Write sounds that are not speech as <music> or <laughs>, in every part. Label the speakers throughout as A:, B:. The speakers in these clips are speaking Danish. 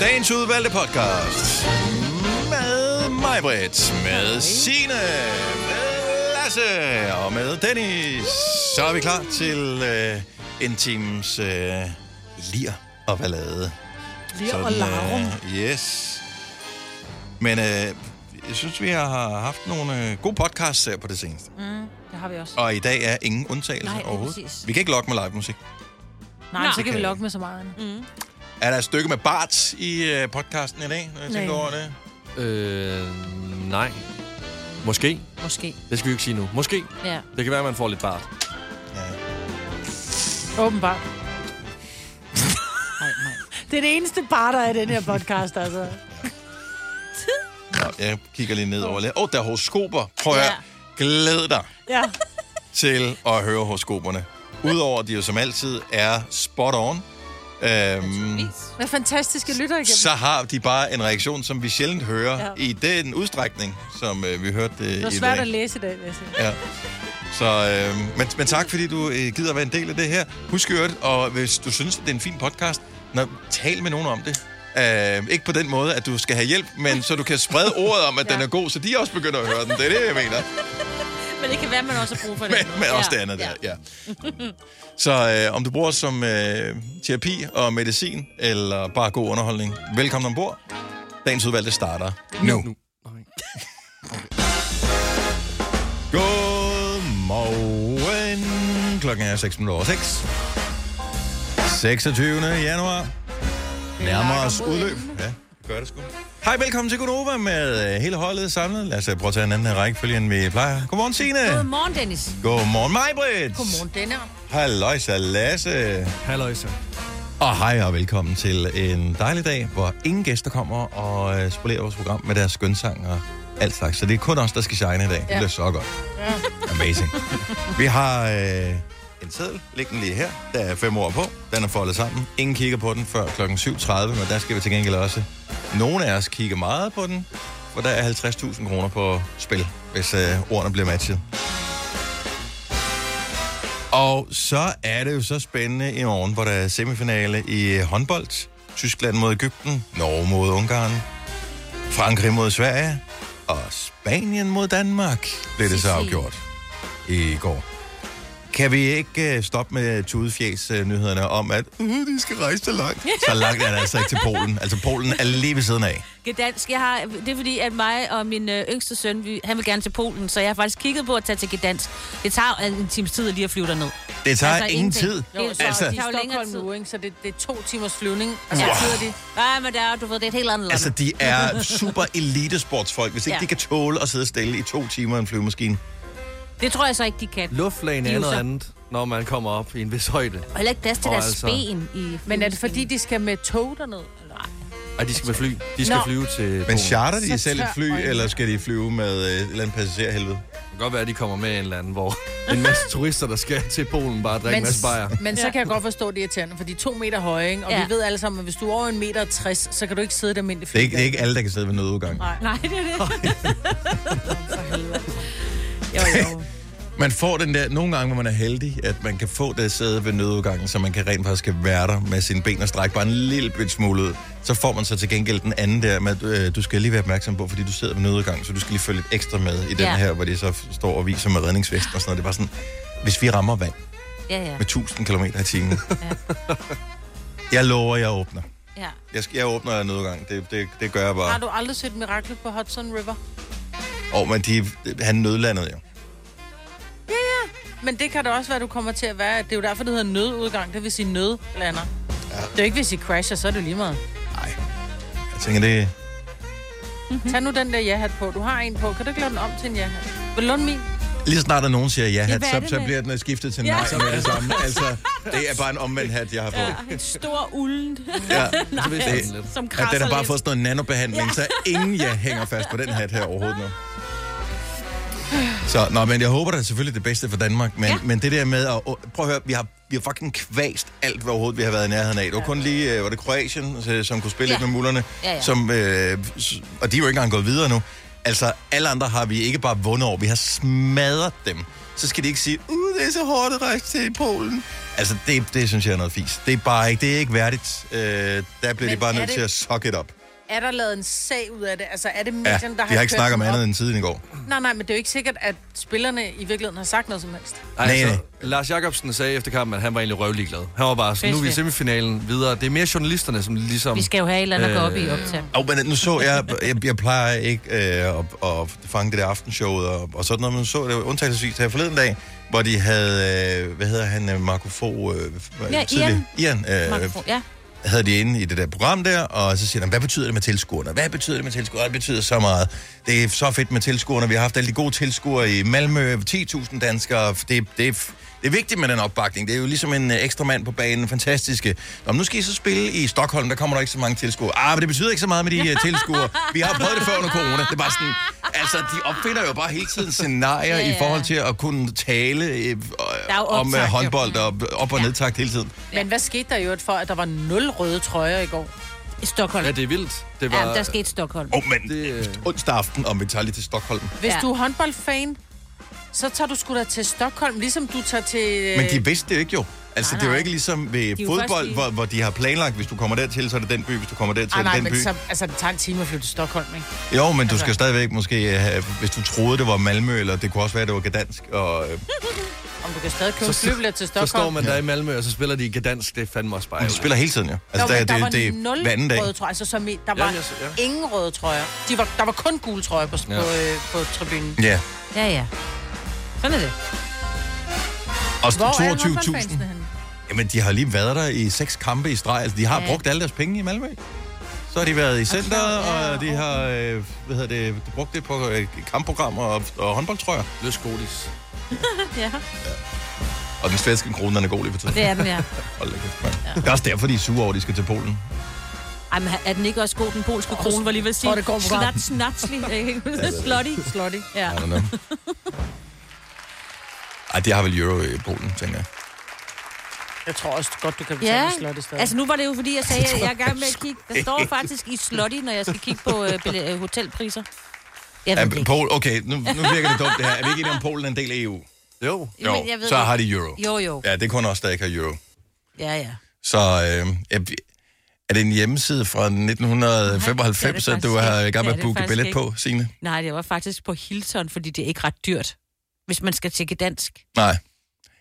A: dagens udvalgte podcast. Med mig, Britt, med Signe, med Lasse og med Dennis. Så er vi klar til øh, en times øh, lir og ballade.
B: Lir og
A: Sådan,
B: larm.
A: øh, Yes. Men øh, jeg synes, vi har haft nogle øh, gode podcasts her på det seneste.
C: Mm, det har vi også.
A: Og i dag er ingen undtagelse
C: Nej, lige
A: overhovedet.
C: præcis.
A: Vi kan ikke lokke med live musik.
C: Nej,
A: Det
C: så
A: kan
C: kan vi
A: vi.
C: lokke med så meget andet. Mm.
A: Er der et stykke med Bart i øh, podcasten i dag, når jeg tænker
C: Nej.
A: over det?
D: Øh, nej. Måske.
C: Måske.
D: Det skal vi jo ikke sige nu. Måske.
C: Ja,
D: Det kan være, at man får lidt bart.
C: åbenbart.
B: Det er det eneste par, der er i den her podcast, altså.
A: Nå, jeg kigger lige ned over lidt. Åh, oh, der er horoskoper. Prøv at ja. Glæd dig
B: Ja.
A: til at høre horoskoperne. Udover at de jo som altid er spot on, øhm,
B: Med fantastiske lytter igennem.
A: så har de bare en reaktion, som vi sjældent hører
B: Ja.
A: ja. i den udstrækning, som øh, vi hørte øh,
B: Det var
A: i
B: svært at
A: dag.
B: læse i dag, vil jeg sige.
A: Ja. Så, øh, men, men tak, fordi du øh, gider at være en del af det her. Husk øvrigt, og hvis du synes, at det er en fin podcast, når, tal med nogen om det. Uh, ikke på den måde, at du skal have hjælp, men så du kan sprede ordet om, at ja. den er god, så de også begynder at høre den. Det er det, jeg mener.
C: Men det kan være, man også har brug
A: <laughs>
C: for det.
A: Men, men også det andet der, ja.
C: <laughs>
A: Så øh, om du bruger os som øh, terapi og medicin, eller bare god underholdning, velkommen ombord. Dagens udvalgte starter nu. nu. <laughs> Godmorgen. Klokken er 6.06. 26. januar. Nærmer os udløb. Ja, gør det sgu. Hej, velkommen til Gunova med øh, hele holdet samlet. Lad os øh, prøve at tage en anden her rækkefølge, end vi plejer. Godmorgen, Signe.
C: Godmorgen, Dennis.
A: Godmorgen, Majbrit.
C: Godmorgen, Denner.
A: Halløjsa, Lasse.
D: Halløjsa.
A: Og hej og velkommen til en dejlig dag, hvor ingen gæster kommer og øh, spolerer vores program med deres skønsang og alt slags. Så det er kun os, der skal shine i dag. Ja. Det er så godt. Ja. Amazing. Vi har øh, en seddel liggende lige her. Der er fem ord på. Den er foldet sammen. Ingen kigger på den før kl. 7.30, men der skal vi til gengæld også. Nogle af os kigger meget på den, for der er 50.000 kroner på spil, hvis øh, ordene bliver matchet. Og så er det jo så spændende i morgen, hvor der er semifinale i øh, håndbold. Tyskland mod Ægypten, Norge mod Ungarn, Frankrig mod Sverige og Spanien mod Danmark blev det så
C: Sisi.
A: afgjort i går. Kan vi ikke øh, stoppe med tudefjæs-nyhederne om, at uh, de skal rejse så langt? Så langt er det altså ikke til Polen. Altså, Polen er lige ved siden af.
C: Gdansk, jeg har, det er fordi, at mig og min øh, yngste søn, vi, han vil gerne til Polen, så jeg har faktisk kigget på at tage til Gdansk. Det tager øh, en times tid lige at flyve derned.
A: Det tager
C: Altså,
A: altså, ingen
C: ingenting.
A: tid.
C: Jo, så
A: altså,
B: Det er
C: tager jo
B: jo
C: længere
B: længere
C: tid.
B: nu, ikke? så det, det er to timers flyvning, og så
A: Wow.
B: sidder de...
C: Nej, men der, er- du ved, det er et helt andet land.
A: Altså, de er super elitesportsfolk, hvis ikke
C: Ja.
A: ja. de kan tåle at sidde stille i to timer i en flyvemaskine.
C: Det tror jeg så ikke, de kan.
D: Luftlagen
C: er
D: er
C: jo
D: noget
C: så-
D: andet, når man kommer op i en vis højde.
C: Og heller ikke plads til
D: Og
C: deres
D: altså-
C: altså... ben i
B: Men er det fordi, de skal med tog derned? Eller? ej?
D: Og de skal med fly. De skal
B: Nå.
D: flyve til
A: Men
D: Polen.
A: charter de
B: Så
A: selv et
B: tør
A: fly,
B: øjnene.
A: eller skal de flyve med øh, et eller andet passagerhelvede?
D: Det kan godt være, at de kommer med en eller anden, hvor <laughs> en masse turister, der skal til Polen, bare drikke en masse bajer.
B: men så kan jeg godt forstå, det er irriterende, for de er to meter høje, ikke? og
C: Ja.
B: vi ved alle sammen, at hvis du er over en meter og 60, så kan du ikke sidde der mindre
A: Det er ikke, det er ikke alle, der kan sidde ved nødudgang.
C: Nej, det er
B: <laughs>
C: det.
B: Jo, jo.
A: <laughs> Man får den der, nogle gange, hvor man er heldig, at man kan få det sæde ved nødudgangen, så man kan rent faktisk kan være der med sine ben og strække bare en lille bit smule ud. Så får man så til gengæld den anden der med, øh, du skal lige være opmærksom på, fordi du sidder ved nødudgangen, så du skal lige følge lidt ekstra med i den
C: Ja.
A: her, hvor de så står og viser med redningsvesten og sådan noget. Det er bare sådan, hvis vi rammer vand,
C: Ja, ja.
A: med 1000 km i
C: <laughs>
A: timen. jeg lover, jeg åbner.
C: ja.
A: Jeg, skal, jeg åbner nødgang. Det, det, det gør jeg
B: Har
A: bare.
B: du aldrig set Miracle på Hudson River?
A: Og men de, han nødlandede jo.
B: Men det kan da også være, at du kommer til at være, at det er jo derfor, det hedder nødudgang, det vil sige nødlander. Ja. Det er jo ikke, hvis I crasher, så er det jo lige meget.
A: Nej. Jeg tænker, det...
B: Tag nu den der ja-hat på. Du har en på. Kan du ikke lave den om til en ja-hat? Vil du låne min?
A: Lige så snart der nogen siger ja, hat,
C: hvad er
A: så,
C: det
A: så
C: med?
A: bliver den øh, skiftet til nej med det
C: <laughs>
A: samme. Altså, det er bare en omvendt hat, jeg har på.
C: En stor ulden, <laughs>
A: Ja.
D: Så vidste jeg sådan lidt.
C: som
A: Ja,
C: krasser
A: den har bare
C: lidt.
A: fået sådan noget nanobehandling, ja. så ingen jeg hænger fast på den hat her overhovedet nu. Så, nå, men jeg håber da selvfølgelig det bedste for Danmark, men, ja.
C: Ja.
A: men det der med at... Prøv at høre, vi har, vi har fucking kvæst alt, hvad overhovedet vi har været i nærheden af. Det var kun lige, øh, var det Kroatien, så- som kunne spille ja.
C: Ja.
A: lidt med mullerne,
C: Ja, ja.
A: Som, øh, s- og de er jo ikke engang gået videre nu. Altså, alle andre har vi ikke bare vundet over, vi har smadret dem. Så skal de ikke sige, uh, det er så hårdt at rejse til Polen. Altså, det, det synes jeg er noget fis. Det er bare ikke, det er ikke værdigt. Øh, der bliver Men de
B: Men
A: bare
B: er
A: nødt
B: det-
A: til at suck it up.
B: Er der lavet en sag ud af det? Altså, er det
A: Ja,
B: medierne, der
A: de har ikke
B: kørt
A: snakket om
B: den
A: andet
B: op?
A: end tiden i går.
B: Nej, nej, men det er jo ikke sikkert, at spillerne i virkeligheden har sagt noget som helst.
D: Ej,
A: Nej,
D: altså, Lars Jacobsen sagde efter kampen, at han var egentlig røvlig glad. Han var bare sådan, nu er vi i
B: Fedt,
D: semifinalen videre. Det er mere journalisterne, som ligesom...
C: Vi skal jo have et eller andet at gå op i
D: Øh,
C: op til.
A: Og men nu så jeg, jeg, jeg plejer ikke øh, at, at fange det der aftenshowet og, og sådan noget, men nu så det undtagelsesvis her forleden dag, hvor de havde, øh, hvad hedder han, øh, Marco Fo, øh,
C: Ja,
A: tidligere- Ian øh,
C: Mikrofon. Ja.
A: havde de inde i det der program der, og så siger han, hvad betyder det med tilskuerne? Hvad betyder det med tilskuerne? Det betyder så meget. Det er så fedt med tilskuerne. Vi har haft alle de gode tilskuere i Malmø, 10.000 danskere. Det, det, er- det er vigtigt med den opbakning. Det er jo ligesom en øh, ekstra mand på banen. Fantastiske. Nå, men nu skal I så spille i Stockholm. Der kommer der ikke så mange tilskuere. Ah, men det betyder ikke så meget med de øh, tilskuere. Vi har prøvet det før under corona. Det er bare sådan... Altså, de opfinder jo bare hele tiden scenarier ja,
C: Ja,
A: ja. i
C: ja.
A: forhold til at kunne tale øh,
C: er jo
A: om øh,
C: optakt, jo.
A: håndbold og op- og nedtakt hele tiden.
B: Men hvad skete der i øvrigt for, at der var nul røde trøjer i går?
C: I Stockholm.
D: Ja, det er vildt. Det var...
C: Ja, der skete Stockholm.
A: Åh, oh, men
D: Det, øh,
A: onsdag aften, om vi tager lige til Stockholm.
B: Hvis
C: Ja.
B: ja. du er håndboldfan, så tager du sgu da til Stockholm, ligesom du tager til... øh,
A: Men de vidste det jo ikke jo.
C: Øh,
A: Altså,
C: Nej,
A: det er jo
C: nej.
A: ikke ligesom ved
C: er jo først
A: fodbold,
C: lige-
A: hvor, hvor de har planlagt, hvis du kommer dertil, så er det den by, hvis du kommer dertil,
B: ah,
A: ah,
B: nej,
A: den
B: men
A: by.
B: så, altså, det tager en time at flytte til Stockholm, ikke?
A: Jo, men du
B: altså-
A: skal stadigvæk måske øh, have, hvis du troede, det var Malmø, eller det kunne også være, det var Gdansk, og øh,
B: Om du kan stadig købe
D: Så-
B: en flybillet til
D: så
B: Stockholm.
D: står man der i Malmø, og så spiller de i Gdansk. Det er fandme også bare...
A: de spiller hele tiden jo. Altså,
B: Nå,
A: der,
B: men der, var
A: det, det er
B: nul
A: hver anden dag.
B: røde trøjer, altså som i, der var
D: jeg så- ja.
B: ingen røde trøjer. De var, der var kun gule trøjer på, ja.
D: Ja.
B: på, øh, på tribunen.
A: Ja,
C: Ja, ja. Sådan er det.
A: og
B: Hvor er
A: 22.000.
B: håndboldfansene henne?
A: Jamen, de har lige været der i seks kampe i streg. Altså, de har
C: Ja.
A: ja. brugt alle deres penge i Malmø. Så har de været i center,
B: ja,
A: og de har øh, hvad hedder det, brugt det på øh, kampprogrammer og, og håndboldtrøjer.
D: Løs godis.
C: <laughs> Ja,
A: Og den svenske krone, den er god lige for tiden.
C: det er den, ja.
A: Hold da kæft, mand. Det er også derfor, de er sure over, at de skal til Polen.
C: Ej, men er den ikke også god, den polske krone, var lige ved at sige?
B: Tror, det går på
C: Snat, snatsli. Slotty. Slotty. Ja. <laughs>
A: I don't know. Ej, de har vel euro i Polen, tænker jeg.
B: Jeg tror også godt, du kan betale
C: Ja,
B: ja. slottet stadig.
C: altså nu var det jo fordi, jeg sagde, at jeg er i gang med at kigge. Der
A: <laughs>
C: står faktisk i Slotty, når jeg skal kigge på øh, bille- øh, hotelpriser. Jeg ved det
A: Ja,
C: ikke.
A: Pol, okay, nu, nu virker det dumt det her. Er vi ikke enige om, Polen er en del af EU?
D: Jo.
C: Jo, men jeg ved
A: så
C: det
A: har
C: ikke.
A: de euro.
C: Jo, jo.
A: Ja, det er kun os, der ikke har euro.
C: Ja, ja.
A: Så øh, jeg, er det en hjemmeside fra 1995,
C: Nej,
A: at
C: det er det
A: du har
C: faktisk
A: i gang
C: ikke. Det er
A: med at
C: det
A: booke
C: faktisk
A: billet
C: ikke.
A: på, Signe?
C: Nej, det var faktisk på Hilton, fordi det er ikke ret dyrt, hvis man skal tjekke dansk.
A: Nej.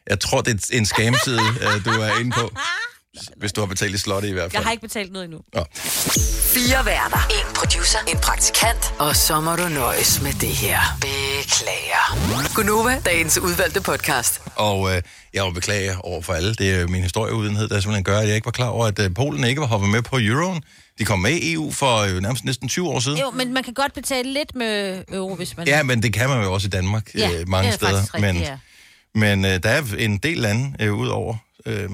A: Jeg tror, det er en
C: <laughs>
A: scamside, øh, du er inde på. Hvis du har betalt i slotte i hvert fald.
C: Jeg har ikke betalt noget endnu.
A: Nå.
E: Fire værter. En producer. En praktikant. Og så må du nøjes med det her. Beklager. Gunova, dagens udvalgte podcast.
A: Og øh, jeg må beklage over for alle. Det er min historieudenhed, der simpelthen gør, at jeg ikke var klar over, at øh, Polen ikke var hoppet med på euroen. De kom med i EU for øh, nærmest næsten 20 år siden.
C: Jo, men man kan godt betale lidt med euro, hvis man...
A: Ja, men det kan man jo også i Danmark
C: Ja,
A: øh, mange
C: det er
A: steder.
C: faktisk rigtigt, ja.
A: men men øh, der er en del lande øh, ud over øh,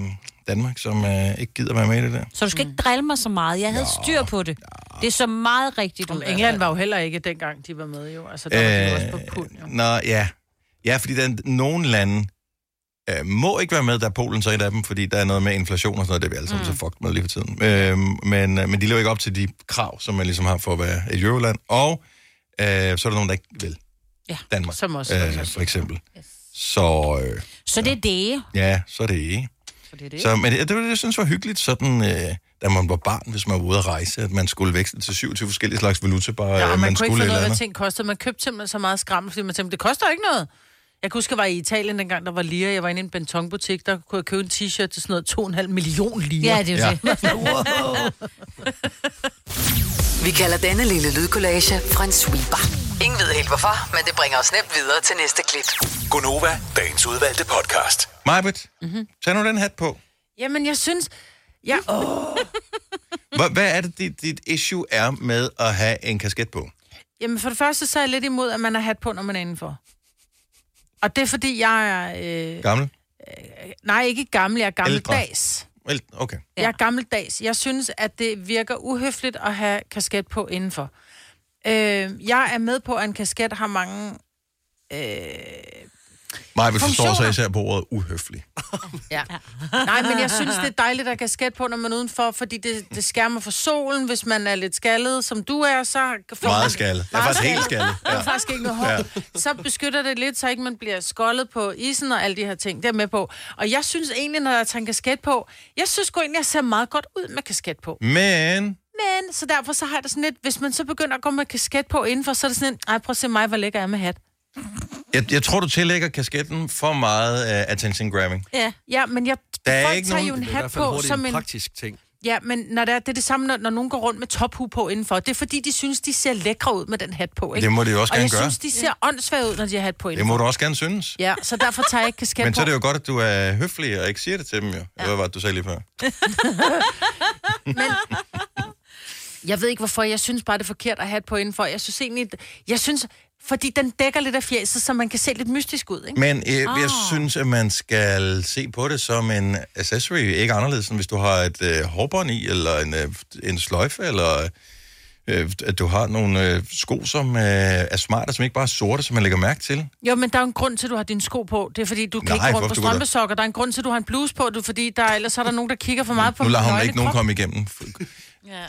A: Danmark, som øh, ikke gider være med i det der.
C: Så du skal
B: Mm.
C: ikke drille mig så meget. Jeg havde styr på det. Det er så meget rigtigt ud.
B: Om England var jo heller ikke dengang, de var med jo. Altså, der var de
D: Øh,
B: jo også på pund, jo.
A: Nå, ja. Ja, fordi der er nogle lande øh, må ikke være med, der er Polen så et af dem, fordi der er noget med inflation og sådan noget, det er vi alle sammen mm. så fucked med lige for tiden. Øh, men, øh, men de lever ikke op til de krav, som man ligesom har for at være et euroland. Og øh, så er der nogen, der ikke vil.
C: Ja,
A: Danmark,
B: som også-
A: øh, for eksempel. Yes. Så øh,
C: Så det er det.
A: ja, så er det ikke.
B: Så det er det.
A: Så, men det, det, var det, jeg synes var hyggeligt, sådan, øh, da man var barn, hvis man var ude at rejse, at man skulle veksle til 27 forskellige slags valuta, bare
B: Ja,
A: øh,
B: og man, man kunne
A: skulle
B: ikke
A: et
B: finde
A: eller
B: ud af, hvad
A: andet.
B: ting kostede. Man købte simpelthen så meget skram, fordi man tænkte, det koster ikke noget. Jeg kan huske, jeg var i Italien dengang, der var lire. Jeg var inde i en Benton-butik, der kunne jeg købe en t-shirt til sådan noget 2,5 million lire.
C: Ja, det er jo
A: Ja.
C: det.
B: <laughs>
E: Vi kalder denne lille lydkollage en sweeper. Ingen ved helt hvorfor, men det bringer os nemt videre til næste klip.
F: Gunova, dagens udvalgte podcast.
A: Majbet,
B: Mhm.
A: mm-hmm. tag nu den hat på.
B: Jamen, jeg synes... Ja, åh,
A: Hvad, hvad er det, dit, dit issue er med at have en kasket på?
B: jamen, for det første, så er jeg lidt imod, at man har hat på, når man er indenfor. Og det er, fordi jeg er... Øh,
A: Gammel?
B: nej, ikke gammel, jeg er
A: Ældre.
B: gammeldags.
A: Vel, Okay.
B: Ja. Jeg er gammeldags. Jeg synes, at det virker uhøfligt at have kasket på indenfor. Øh, jeg er med på, at en kasket har mange... Øh,
A: Mig vil forstå sig
B: Funktioner.
A: især på ordet uhøflig.
B: Ja. Nej, men jeg synes, det er dejligt at kasket på, når man er udenfor, fordi det, det skærmer for solen. Hvis man er lidt skaldet, som du er, så... Får
A: Meget
B: man-
A: skalle. Jeg er
B: Meget
A: faktisk helt skalle.
B: Ja.
A: Ja.
B: Der er faktisk ikke noget hår.
A: Ja.
B: Ja. Så beskytter det lidt, så ikke man bliver skoldet på isen og alle de her ting. Det er jeg med på. Og jeg synes egentlig, når jeg tager en kasket på, jeg synes sgu egentlig, jeg ser meget godt ud med kasket på.
A: Men
B: Men, så derfor så har jeg det sådan lidt, hvis man så begynder at gå med kasket på indenfor, så er det sådan lidt, ej, prøv at se mig, hvor lækker jeg er med hat.
A: jeg, jeg tror, du tillægger kasketten for meget uh, attention grabbing.
B: Ja. Ja, men jeg,
A: Der er
B: folk
A: ikke
B: tager
A: nogen-
B: jo en
D: Det er i hvert
B: hat
D: fald
B: på
D: hurtigt
B: som
D: en
B: en...
D: praktisk ting.
B: Ja, men når det, er, det er det samme, når, når nogen går rundt med tophue på indenfor. Det er fordi, de synes, de ser lækre ud med den hat på, ikke?
A: Det må de jo også
B: og
A: gerne
B: jeg
A: gøre.
B: synes, de ser åndssvage ud, når de har hat på
A: Det
B: indenfor.
A: må du også gerne synes.
B: Ja, så derfor tager jeg ikke kasket
A: Men
B: på.
A: så er det jo godt, at du er høflig og ikke siger det til dem, jo. Ja. Hvad var det, du sagde lige før?
B: <laughs> Jeg ved ikke, hvorfor jeg synes bare, det er forkert at have det på indenfor. Jeg synes egentlig, jeg synes, fordi den dækker lidt af fjeset, så man kan se lidt mystisk ud, ikke? Ah.
A: Men øh, jeg synes, at man skal se på det som en accessory. Ikke anderledes, end hvis du har et øh, hårbånd i, eller en, øh, en sløjfe, eller øh, at du har nogle øh, sko, som øh, er smarte, som ikke bare er sorte, som man lægger mærke til.
B: Jo, men der er jo en grund til, at du har dine sko på. Det er fordi, du kan
A: Nej,
B: Nej, ikke gå
A: hvorfor
B: rundt på
A: skulle der-
B: strømpesokker. Der er en grund til, at du har en bluse på, du, fordi der, ellers er der nogen, der kigger for meget på
A: Nu lader
B: din
A: hun
B: nøgne
A: ikke nogen
B: krop.
A: komme igennem.
C: Ja,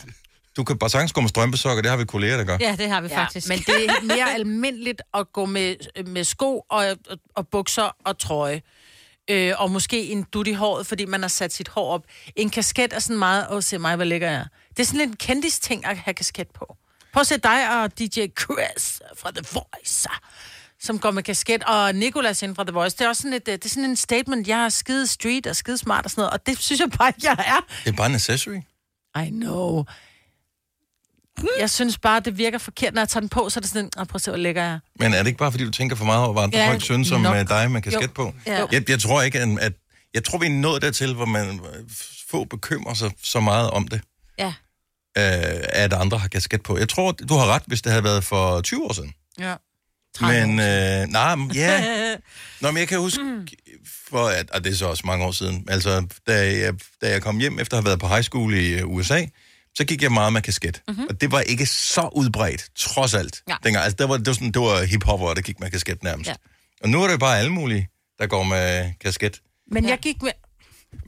A: Du kan bare sagtens gå med strømpesokker, det har vi kolleger, der gør.
C: ja det har vi ja, faktisk.
B: Ja, men det er <laughs> mere almindeligt at gå med, med sko og, og, og bukser og trøje. Øh, og måske en dut i håret, fordi man har sat sit hår op. En kasket er sådan meget, åh, se mig, hvor lægger jeg. er." Det er sådan lidt en kendis ting at have kasket på. Prøv at se dig og DJ Chris fra The Voice, som går med kasket, og Nicolas ind fra The Voice. Det er også sådan, et, øh, det er sådan en statement, jeg er skide street og skide smart og sådan noget, og det synes jeg bare, <laughs> ikke, jeg er.
A: Det er bare en accessory.
B: I know. Jeg synes bare, det virker forkert, når jeg tager den på, så er det sådan, oh, prøv at se, hvor lækker jeg er."
A: Men er det ikke bare, fordi du tænker for meget over, hvad andre ja,
B: Ja,
A: folk synes om
B: nok.
A: nok. dig med kasket
B: Jo.
A: på?
B: Ja.
A: Jeg, jeg tror ikke, at, at... Jeg tror, vi er nået dertil, hvor man øh, få bekymrer sig så meget om det.
C: Ja.
A: øh, at andre har kasket på. Jeg tror, du har ret, hvis det havde været for 20 år siden.
B: Ja.
A: Men, øh, nej, men ja. Nå, men jeg kan huske, for at, og det er så også mange år siden, altså, da jeg, da jeg kom hjem efter at have været på high school i øh, USA, så gik jeg meget med kasket. Mm-hmm. Og det var ikke så udbredt, trods alt.
C: Nej.
A: Dengang, altså, der var, det var, sådan, det var hiphopper, der gik med kasket nærmest. Ja.
C: Ja.
A: Og nu er det jo bare alle mulige, der går med kasket.
B: Men jeg gik med...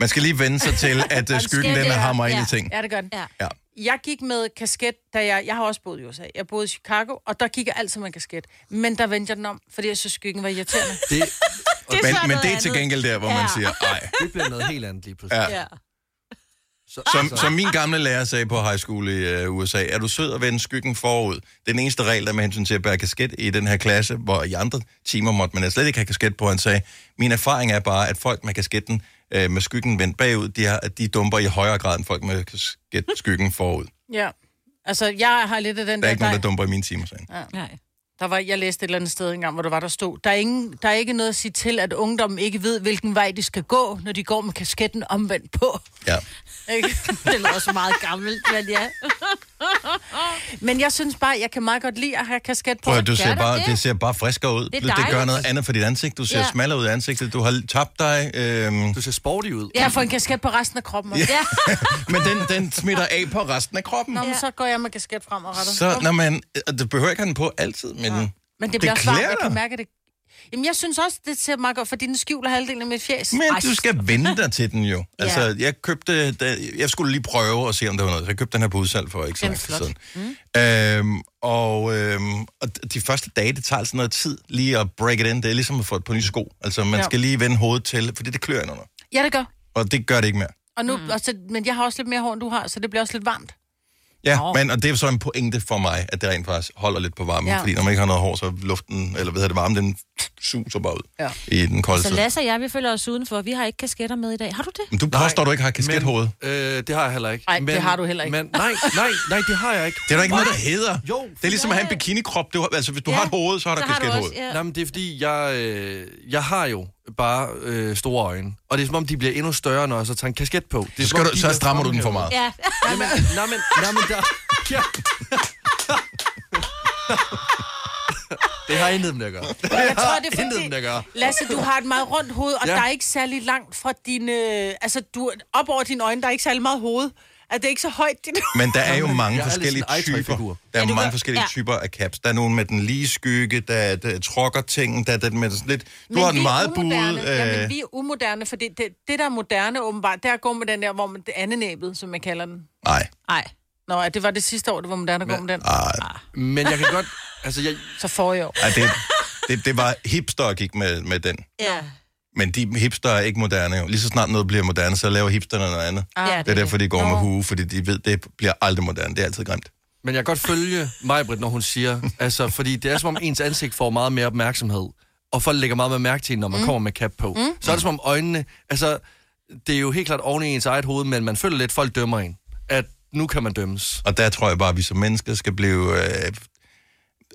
A: Man skal lige vende sig
B: <laughs>
A: til, at øh, skyggen den hammer ind
C: ja.
A: i ting.
B: Ja, det gør den.
C: Ja.
A: Ja.
B: Jeg gik med kasket, da jeg... Jeg har også boet i USA. Jeg boede i Chicago, og der gik jeg altid med kasket. Men der vendte jeg den om, fordi jeg synes, skyggen var irriterende.
D: Det,
C: det
A: Men,
C: så
A: men
C: noget
A: det er til
C: andet.
A: gengæld der, hvor ja. man
C: Ja.
A: siger, nej.
D: det bliver noget helt andet lige pludselig.
A: Ja.
C: Ja.
D: Så,
A: Som, som min gamle lærer sagde på high school i øh, USA, er du sød at vende skyggen forud? Det er den eneste regel, der er med hensyn til at bære kasket i den her klasse, hvor i andre timer måtte man slet ikke have kasket på. Han sagde, min erfaring er bare, at folk med kasketten øh, med skyggen vendt bagud, de, har, de dumper i højere grad end folk med kasket, skyggen forud. Der
B: ja. Altså, jeg har lidt af den
A: er
B: der...
A: ikke nogen, der dumper i mine timer, sagde han.
C: Nej.
B: Der var, jeg læste et eller andet sted engang, hvor der var, der stod, der er, ingen, der er ikke noget at sige til, at ungdommen ikke ved, hvilken vej de skal gå, når de går med kasketten omvendt
C: <laughs>
B: på.
A: Ja.
B: Ikke?
C: Det lyder også meget gammelt, men ja.
B: <laughs> Men jeg synes bare, jeg kan meget godt lide at have kasket på.
A: Prøv at høre, du ser
C: der
A: bare, det?
C: det?
A: ser bare friskere ud. Det,
C: er
A: det gør
C: dejligt.
A: noget andet for dit ansigt. Du ser ja.
C: Ja.
A: smallere ud i ansigtet. Du har tabt dig. Øhm,
D: Du ser sporty ud.
B: Jeg får en kasket på resten af kroppen. også.
C: Ja.
A: <laughs> men den, den smitter af på resten af kroppen.
B: Nå, men så går jeg med kasket frem og retter.
A: Så, når man, og det behøver ikke have den på altid, men... Ja.
B: men
A: det
B: det bliver også varmt,
A: klæder
B: jeg
A: dig.
B: kan mærke det. Jamen, jeg synes også, det ser meget godt, fordi den skjuler halvdelen af mit fjes.
A: Men
B: Ej,
A: du skal vende dig til den
B: <laughs>
A: jo. Altså, ja. jeg købte... Da, jeg skulle lige prøve at se, om der var noget. Så jeg købte den her på udsalg for ikke så
B: Den er
A: lang tid siden. Mm. Øhm, og, øhm, og de første dage, det tager altså noget tid lige at break it in. Det er ligesom at få et på nye sko. Altså, man ja.
B: Ja.
A: skal lige vende hovedet til, fordi det klør ind under.
B: Ja, det gør.
A: Og det gør det ikke mere.
B: Og nu, mm. også, men jeg har også lidt mere hår, end du har, så det bliver også lidt varmt.
A: Ja, men, og det er så en pointe for mig, at det rent faktisk holder lidt på varmen. Ja.
B: Ja.
A: Fordi når man ikke har noget hår, så luften, eller hvad hedder det, varmen, den suser bare ud ja.
B: Ja.
A: i den kolde
C: Så
A: tid.
C: Lasse og jeg, vi følger os udenfor. Vi har ikke kasketter med i dag. Har du det?
A: Men du påstår, du ikke har kaskethoved.
D: Men, øh, det har jeg heller ikke.
B: Ej, det har du heller ikke.
D: Men, nej, nej, nej, det har jeg ikke.
A: Det er der ikke noget, der hedder.
D: Jo,
A: det er ligesom at have en bikinikrop. Du har, altså, hvis du ja. har et hoved, så har der kasket hoved. Ja.
C: ja.
D: Nej, men det er fordi, jeg, øh, jeg har jo bare øh, store øjne. Og det er som om, de bliver endnu større, når jeg så tager en kasket på. Det er, som
A: Så, skal
D: om,
A: du,
D: de
A: så
D: bliver
A: strammer du den for
D: fremhævet.
A: meget. Ja.
C: ja.
D: Jamen, nej, men, nej, men der... Ja. Det har intet med det at gøre.
A: <laughs>
B: Jeg tror, det er
D: <laughs> Intet med det at gøre.
B: Lasse, du har et meget rundt hoved, og
D: Ja.
B: øh, ja. der er ikke særlig langt fra dine... Altså, du, op over dine øjne, der er ikke særlig meget hoved. at det er ikke så højt, dit
A: Men der er jo mange
D: jeg er lidt
A: forskellige
D: sådan en
A: typer.
D: iToy-figur.
A: Der er
B: Ja, du
A: mange
B: kan-
A: forskellige
B: ja.
A: typer af caps. Der er nogen med den lige skygge, der er der trokker ting, der er den med sådan lidt... Du
B: Men
A: har
B: vi
A: den
B: er
A: meget
B: umoderne.
A: buet.
B: Jamen,
A: Øh,
B: vi er umoderne, for det, det, det, der er moderne åbenbart, det er at gå med den der, hvor man, det andenæbet, som man kalder den.
A: nej,
C: Nej.
B: Nå, ja, det var det sidste år, det var moderne at gå med den.
D: Men jeg kan godt... Altså, jeg,
B: Så forrige år.
A: ej, det, det, det var hipster, der gik med, med den.
C: Ja.
A: Men de hipster er ikke moderne jo. Lige så snart noget bliver moderne, så laver hipsterne noget andet.
C: ja
A: Det er derfor, de går med hue, fordi de ved, det bliver aldrig moderne. Det er altid grimt.
D: men jeg kan godt følge Majbrit, når hun siger... Altså, fordi det er som om ens ansigt får meget mere opmærksomhed. Og folk lægger meget mere mærke til en, når man mm. kommer med cap på. Mm. Så er det som om øjnene... Altså, det er jo helt klart oven i ens eget hoved, men man føler lidt, folk dømmer en. At nu kan man dømmes.
A: Og der tror jeg bare, at vi som mennesker skal blive... Øh,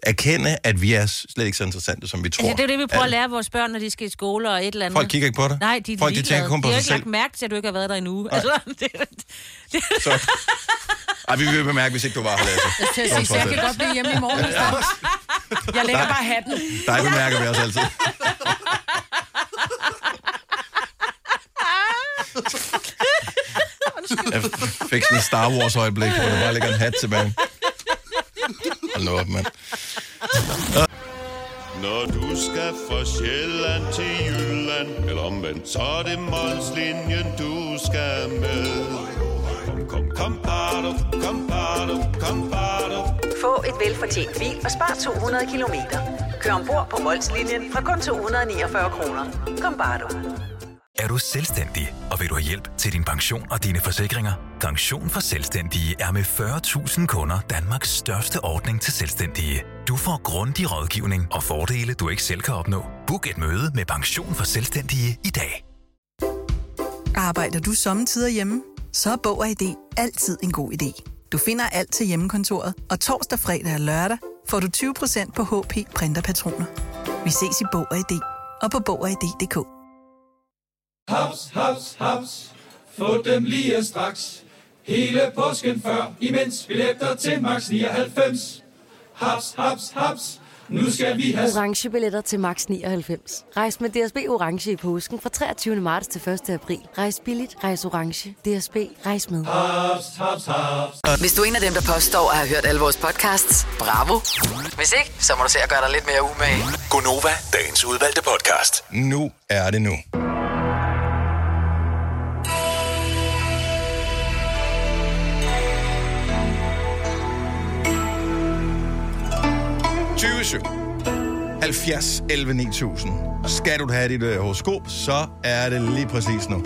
A: erkende, at vi er slet ikke så interessante, som vi tror.
C: Altså, det er jo det, vi prøver at lære vores børn, når de skal i skole og et eller andet.
A: Folk kigger ikke på dig.
C: Nej, de er
A: Folk de
C: ligeglade.
A: tænker kun på
C: de har
A: sig
C: ikke
A: selv.
C: lagt mærke til, at du ikke har været der endnu. Altså, det,
A: Så... Ej, vi vil bemærke, hvis ikke du var her, Lasse.
B: Jeg, skal til at sige, så jeg kan godt blive hjemme i morgen. hvis der- Jeg lægger bare hatten.
A: Dig bemærker vi også altid. <laughs> Jeg fik sådan en Star Wars-øjeblik, hvor der bare ligger en hat tilbage. Hold nu op, mand.
G: Når du skal fra Sjælland til Jylland Eller omvendt, så er det Molslinjen, du skal med Kom, kom, kom, bado, kom, bado, kom, bado.
E: Få et velfortjent bil og spar 200 kilometer. Kør ombord på Molslinjen fra kun 249 kroner. Kom bare du.
H: Er du selvstændig, og vil du have hjælp til din pension og dine forsikringer? Pension for Selvstændige er med 40.000 kunder Danmarks største ordning til selvstændige. Du får grundig rådgivning og fordele, du ikke selv kan opnå. Book et møde med Pension for Selvstændige i dag.
I: Arbejder du sommetider hjemme? Så er Bog og ID altid en god idé. Du finder alt til hjemmekontoret, og torsdag, fredag og lørdag får du 20% på HP Printerpatroner. Vi ses i Bog og ID og på Bog og ID.dk.
J: Haps, haps, haps. Få dem lige straks. Hele påsken før, imens billetter til max 99. Haps, haps, haps. Nu skal vi have
K: Orange billetter til max 99. Rejs med DSB Orange i påsken fra 23. marts til 1. april. Rejs billigt, rejs orange. DSB, rejs med.
J: Ah, haps, haps, haps.
E: Hvis du er en af dem, der påstår at have hørt alle vores podcasts, bravo. Hvis ikke, så må du se at gøre dig lidt mere umage.
F: Gonova, dagens udvalgte podcast.
A: Nu er det nu. Tyvesyv. 70 11 9000. Skal du have dit øh, horoskop, så er det lige præcis nu.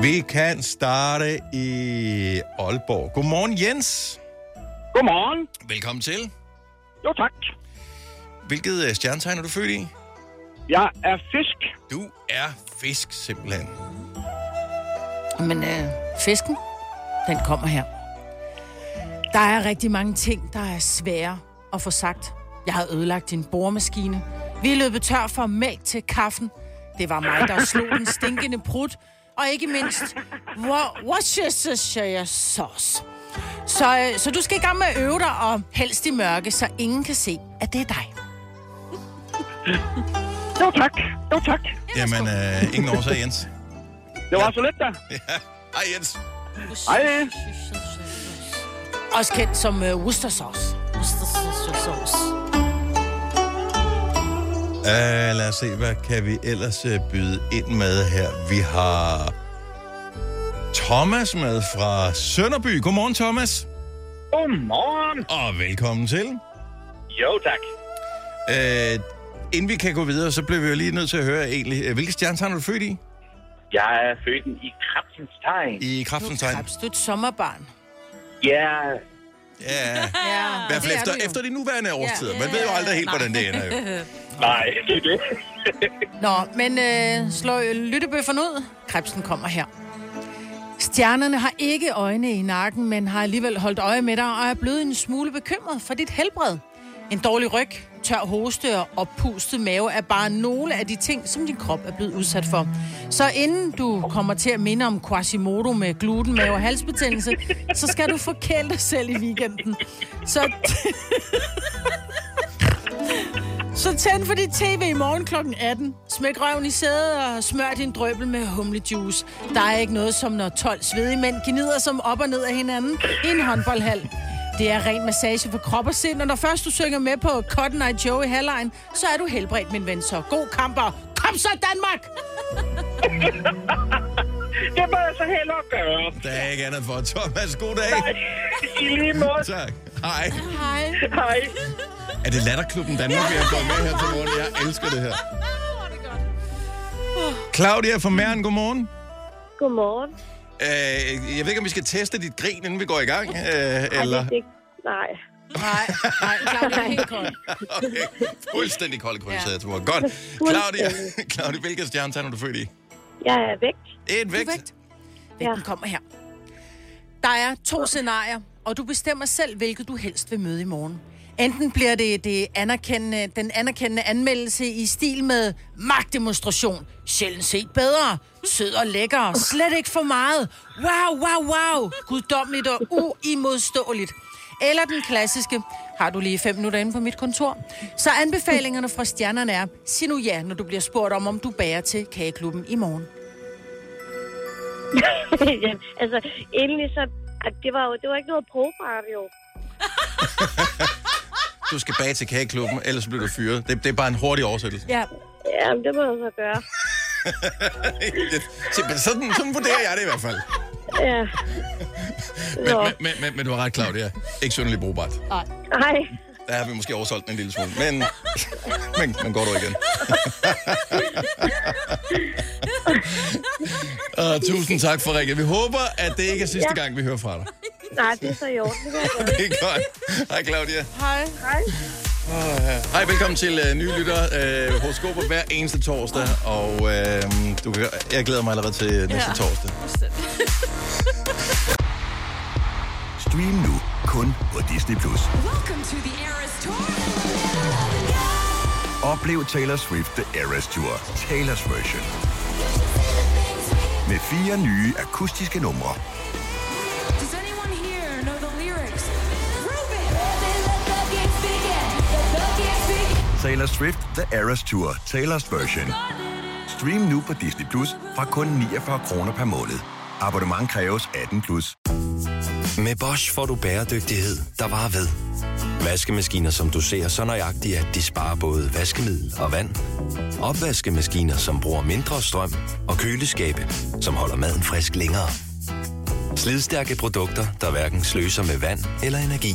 A: Vi kan starte i Aalborg. Godmorgen, Jens.
L: Godmorgen.
A: Velkommen til.
L: Jo, tak.
A: Hvilket øh, stjernetegn er du født i?
L: Jeg er fisk.
A: Du er fisk, simpelthen.
B: Men øh, fisken, den kommer her. Der er rigtig mange ting, der er svære at få sagt. Jeg har ødelagt din boremaskine. Vi er løbet tør for mælk til kaffen. Det var mig, der slog den stinkende prut. Og ikke mindst, wha- what's your soya sauce? Så, øh, så du skal i gang med at øve dig, og helst i mørke, så ingen kan se, at det er dig.
L: Jo, tak. Jo, tak.
A: Jamen, øh, ingen årsag, Jens.
L: <laughs> Det var så let, da.
A: Ja. Hej, Jens.
L: Hej.
B: Også kendt som øh, Worcester sauce.
A: Uh, lad os se, hvad kan vi ellers øh, byde ind med her? Vi har Thomas med fra Sønderby. Godmorgen, Thomas.
L: Godmorgen.
A: Og velkommen til.
L: Jo, tak.
A: Uh, inden vi kan gå videre, så bliver vi jo lige nødt til at høre egentlig, øh, hvilke stjernetegn er du født i?
L: Jeg er født i krabsens tegn.
A: I kraftens tegn.
B: Krebs, du er et sommerbarn.
L: Ja,
A: Ja,
B: Ja,
A: i hvert fald efter, efter de nuværende årstider. Man ved jo aldrig helt, hvordan det ender. Jo.
L: nej, det er det.
B: Nå, men øh, slå øh, lyttebøfferne ud. Krebsen kommer her. Stjernerne har ikke øjne i nakken, men har alligevel holdt øje med dig og er blevet en smule bekymret for dit helbred. En dårlig ryg, tør hoste og oppustet mave er bare nogle af de ting, som din krop er blevet udsat for. Så inden du kommer til at minde om Quasimodo med gluten, mave og halsbetændelse, så skal du forkæle dig selv i weekenden. Så Så tænd for dit tv i morgen kl. 18. Smæk røven i sædet og smør din drøbel med humlejuice. Der er ikke noget som når 12 svedige mænd gnider som op og ned af hinanden i en håndboldhal. Det er ren massage for krop og sind, og når først du synger med på Cotton Eye Joe i halvlejen, så er du helbredt, min ven. Så god kamp og kom så, Danmark!
L: Det må jeg så hellere gøre.
A: Der er ikke andet for. Thomas, god dag.
L: Nej, i lige måde.
A: Tak. Hej.
B: Hej.
L: Hej.
A: Er det Latterklubben Danmark, vi har fået med her til morgen? Jeg elsker det her. Claudia fra Mæren, godmorgen.
M: Godmorgen.
A: Øh, jeg ved ikke, om vi skal teste dit grin, inden vi går i gang, øh,
M: Eller...
A: eller...
M: Ej, det, er ikke- nej.
B: Nej, nej, Claudia er helt kold.
A: Okay. Fuldstændig koldkrydset, tror jeg. Godt. Claudia,
M: Fuldstændig.
A: Claudia, hvilket stjernetegn er du født i?
M: Jeg er vægt.
A: Et vægt.
B: Vægten kommer her. Der er to scenarier, og du bestemmer selv, hvilket du helst vil møde i morgen. Enten bliver det, det anerkendende, den anerkendende anmeldelse i stil med magtdemonstration. Sjældent set bedre. Sød og lækker. Slet ikke for meget. Wow, wow, wow. Guddommeligt og uimodståeligt. Eller den klassiske. Har du lige fem minutter inde på mit kontor? Så anbefalingerne fra stjernerne er, sig nu ja, når du bliver spurgt om, om du bærer til kageklubben i
M: <laughs>
B: morgen.
M: Jamen, altså, endelig så... at Det var jo det var ikke noget brugbart, jo.
A: Du skal bage til kageklubben, ellers bliver du fyret. Det, det er bare en hurtig oversættelse.
B: Ja.
M: Jamen, det må jeg så gøre.
A: Sådan, sådan vurderer jeg det i hvert fald.
M: Ja.
A: Men, men, men, men, men du har ret, Claudia. Ikke synderligt brugbart.
M: Nej. Nej.
A: Der har vi måske oversolgt den en lille smule. Men, men, men går du igen. uh, tusind tak for ringen. Vi håber, at det ikke er sidste
M: Ja.
A: gang, vi hører fra dig. <laughs>
M: Nej, det er så i orden. Det kan jeg godt.
A: Det er godt. Hej, Claudia.
B: Hej.
M: Hej.
A: Uh, hej, velkommen til uh, nye lytter. Uh, horoskoper hver eneste torsdag. Og uh, du kan, jeg glæder mig allerede til næste
N: Ja.
A: torsdag.
O: Stream nu kun på Disney+. Plus. Oplev Taylor Swift The Eras Tour, Taylor's version. Med fire nye akustiske numre. Taylor Swift The Eras Tour, Taylor's version. Stream nu på Disney Plus fra kun 49 kroner per måned. Abonnement kræves 18 plus.
P: Med Bosch får du bæredygtighed, der varer ved. Vaskemaskiner, som du ser så nøjagtigt, at de sparer både vaskemiddel og vand. Opvaskemaskiner, som bruger mindre strøm. Og køleskabe, som holder maden frisk længere. Slidstærke produkter, der hverken sløser med vand eller energi.